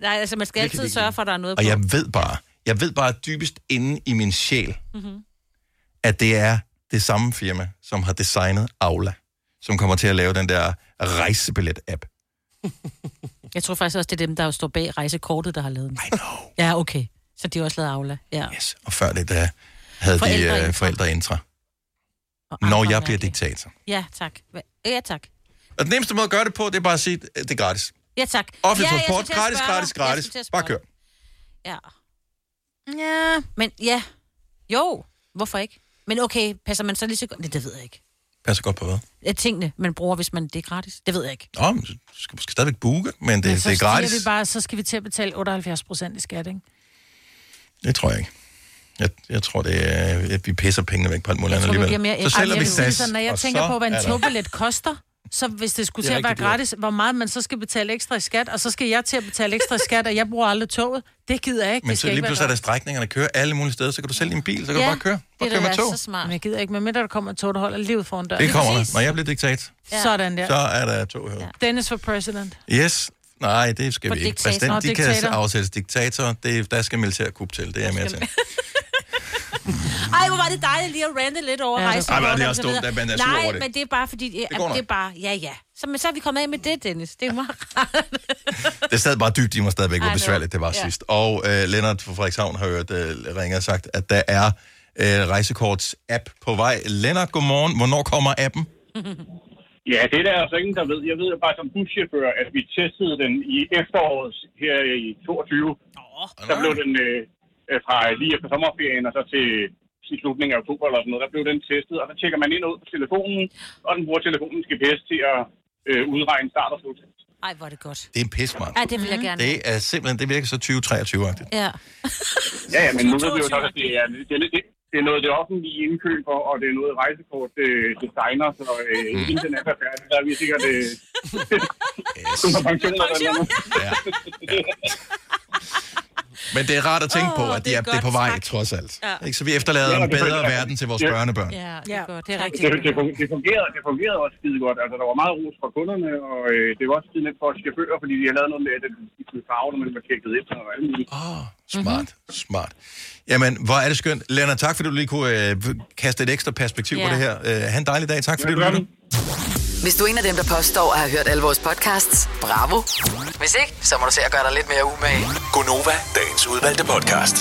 C: Nej, altså man skal
A: Det kan
C: altid
A: det
C: sørge for, at der er noget på.
A: og jeg ved bare, jeg ved bare dybest inde i min sjæl,
C: Mm-hmm.
A: at det er det samme firma, som har designet Aula, som kommer til at lave den der rejsebillet-app.
C: Jeg tror faktisk også, det er dem, der jo står bag rejsekortet, der har lavet den. I
A: know.
C: Ja, okay. Så de har også lavet Aula. Ja.
A: Yes. Og før det, der havde
C: Forældreintra.
A: de uh, forældreintra. Når jeg bliver diktator.
C: Ja, tak. Hva- Ja, tak.
A: Og den nemmeste måde at gøre det på, det er bare at sige, at det er gratis.
C: Ja, tak.
A: Offentlig
C: ja, jeg skulle
A: transport,
C: til at
A: gratis,
C: spørge
A: gratis,
C: dig. Jeg
A: gratis.
C: skulle til at spørge
A: Bare kør.
C: Ja. Ja, men ja. Jo, hvorfor ikke? Men okay, passer man så lige så godt? Det, det ved jeg ikke.
A: Passer godt på hvad?
C: Ja, tingene, man bruger, hvis man det er gratis. Det ved jeg ikke.
A: Nå, men du skal måske stadigvæk booke, men det, men
B: så
A: det er
B: stiger
A: gratis.
B: Vi bare, så skal vi til at betale 78 procent i skat, ikke?
A: Det tror jeg ikke. Jeg, jeg tror, det er, at vi pisser pengene væk på alt muligt
C: Jeg
A: andet
C: tror, du
A: alligevel.
C: bliver mere
A: så
B: Ej,
A: sælger vi
B: jeg vil sige
A: SAS,
B: sådan, Når jeg
A: og
B: tænker
A: så
B: på, hvad
A: er
B: en
A: der-
B: togbillet koster, så hvis det skulle
A: Det
B: til
A: er
B: at være
A: rigtig dyrt.
B: gratis, hvor meget man så skal betale ekstra i skat, og så skal jeg til at betale ekstra i skat, og jeg bruger aldrig toget, det gider jeg ikke.
A: Men
B: det
A: så
B: skal
A: lige
B: ikke være
A: pludselig er der
B: gratis.
A: strækninger, der kører alle mulige steder, så kan du sælge din bil, så kan du bare køre. Bare
B: det
A: køre
B: er
A: med
B: da
A: tog.
B: så
A: Det
B: smart. Men jeg gider ikke, medmindre der kommer et tog, der holder livet foran døren.
A: kommer der. Når jeg bliver diktat,
B: Ja. Sådan der.
A: så er der tog her.
B: Dennis for president.
A: Yes. Nej, det skal
B: For
A: vi ikke.
B: diktator. Nå,
A: Præsident, de kan
B: diktator.
A: afsættes diktator. Det, der skal militærkup til. Det er jeg mere til.
C: Ej, hvor var det dejligt lige at rante lidt over
A: Ja,
C: ja,
A: det-
C: rejsen.
A: Ej, hvor er det også dumt, at man er sur
C: Nej,
A: over det.
C: men det er bare fordi... Det,
A: går
C: det,
A: nok.
C: er bare... Ja, ja. Så, men så er vi kommet af med det, Dennis. Det er meget
A: Det sad bare dybt i mig stadigvæk,
C: I
A: hvor
C: know.
A: besværligt det var
C: Ja.
A: sidst. Og øh, Lennart fra Frederikshavn har hørt øh, ringe og sagt, at der er øh, rejsekorts-app på vej. Lennart, godmorgen. Hvornår kommer appen?
G: Ja, det er der altså ingen, der ved. Jeg ved jo bare som buschauffør, at vi testede den i efteråret her i 22. der blev den øh, øh, fra lige efter sommerferien og så til i slutningen af oktober eller sådan noget, der blev den testet, og så tjekker man ind og ud på telefonen, og den bruger telefonens GPS til at øh, udregne start og slut.
C: Ej, hvor er det godt.
A: Det er en pismand.
C: Ja, det vil jeg gerne.
A: Det er simpelthen, det virker så 2023-agtigt.
C: Ja.
G: Ja, ja, men nu ved vi jo så, at det er, det, er, det, det er noget, det offentlige indkøber, og det er noget, rejsekort øh, designer, så øh,
A: Mm.
G: inden den er færdig, der er vi sikkert... Øh, yes. pension, eller noget.
A: Ja. Men det er rart at tænke oh, på, at det er, det er på vej, trods alt.
G: Ja.
A: Ja. Ikke, så vi efterlader
G: Ja,
A: en
G: det er
A: bedre
G: rigtigt.
A: verden til vores
G: Ja.
B: Mhm.
A: børnebørn.
C: Ja, det er godt. Det er rigtigt.
G: Det, det, fun- det, fungerede, det fungerede også skide godt. Altså, der var meget ros fra kunderne, og øh, det var også skide lidt for chauffører, fordi de har lavet noget med, at de skulle farve, når man var tjekket ind. Og alt muligt.
A: Oh. Smart, smart. Jamen, hvor er det skønt. Lennart, tak fordi du lige kunne øh, kaste et ekstra perspektiv
E: Ja.
A: på det her. Øh, ha' en dejlig dag. Tak fordi du lyttede.
E: Hvis du er en af dem, der påstår at have hørt alle vores podcasts, bravo. Hvis ikke, så må du se at gøre dig lidt mere umage.
F: Gonova, dagens udvalgte podcast.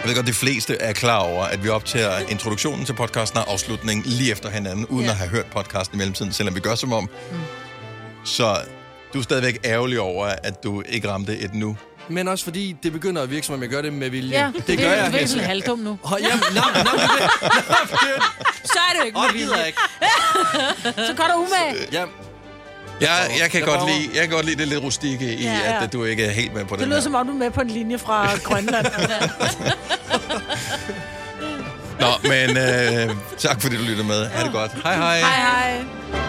A: Jeg ved godt, de fleste er klar over, at vi optager introduktionen til podcasten og afslutningen lige efter hinanden, uden at have hørt podcasten i mellemtiden, selvom vi gør som om. Så du er stadigvæk ærgerlig over, at du ikke ramte et nu.
D: Men også fordi det begynder at virke, som om jeg gør det med vilje.
B: Ja,
D: det,
B: det
D: gør
B: er
D: jeg.
B: virkelig halvdum nu.
D: Oh,
B: <laughs>
D: jamen, nej, nej, nej, nej,
C: Så er det jo ikke
D: Åh,
C: med
D: det gider jeg
C: vilje.
B: <laughs>
C: Så går der umage.
D: Ja.
A: Jeg, jeg, kan,
D: Jeg
A: godt
D: prøver.
A: lide, jeg kan godt lide det lidt rustikke i,
B: Ja,
A: ja,
B: ja.
A: ja. at du ikke er helt med på
B: Det
A: den
B: lyder
A: her.
B: som om, du er med på en linje fra
A: <laughs>
B: Grønland.
A: Nå, men øh, tak fordi du lyttede med. Ha' det godt. Hej hej.
B: hej. hej.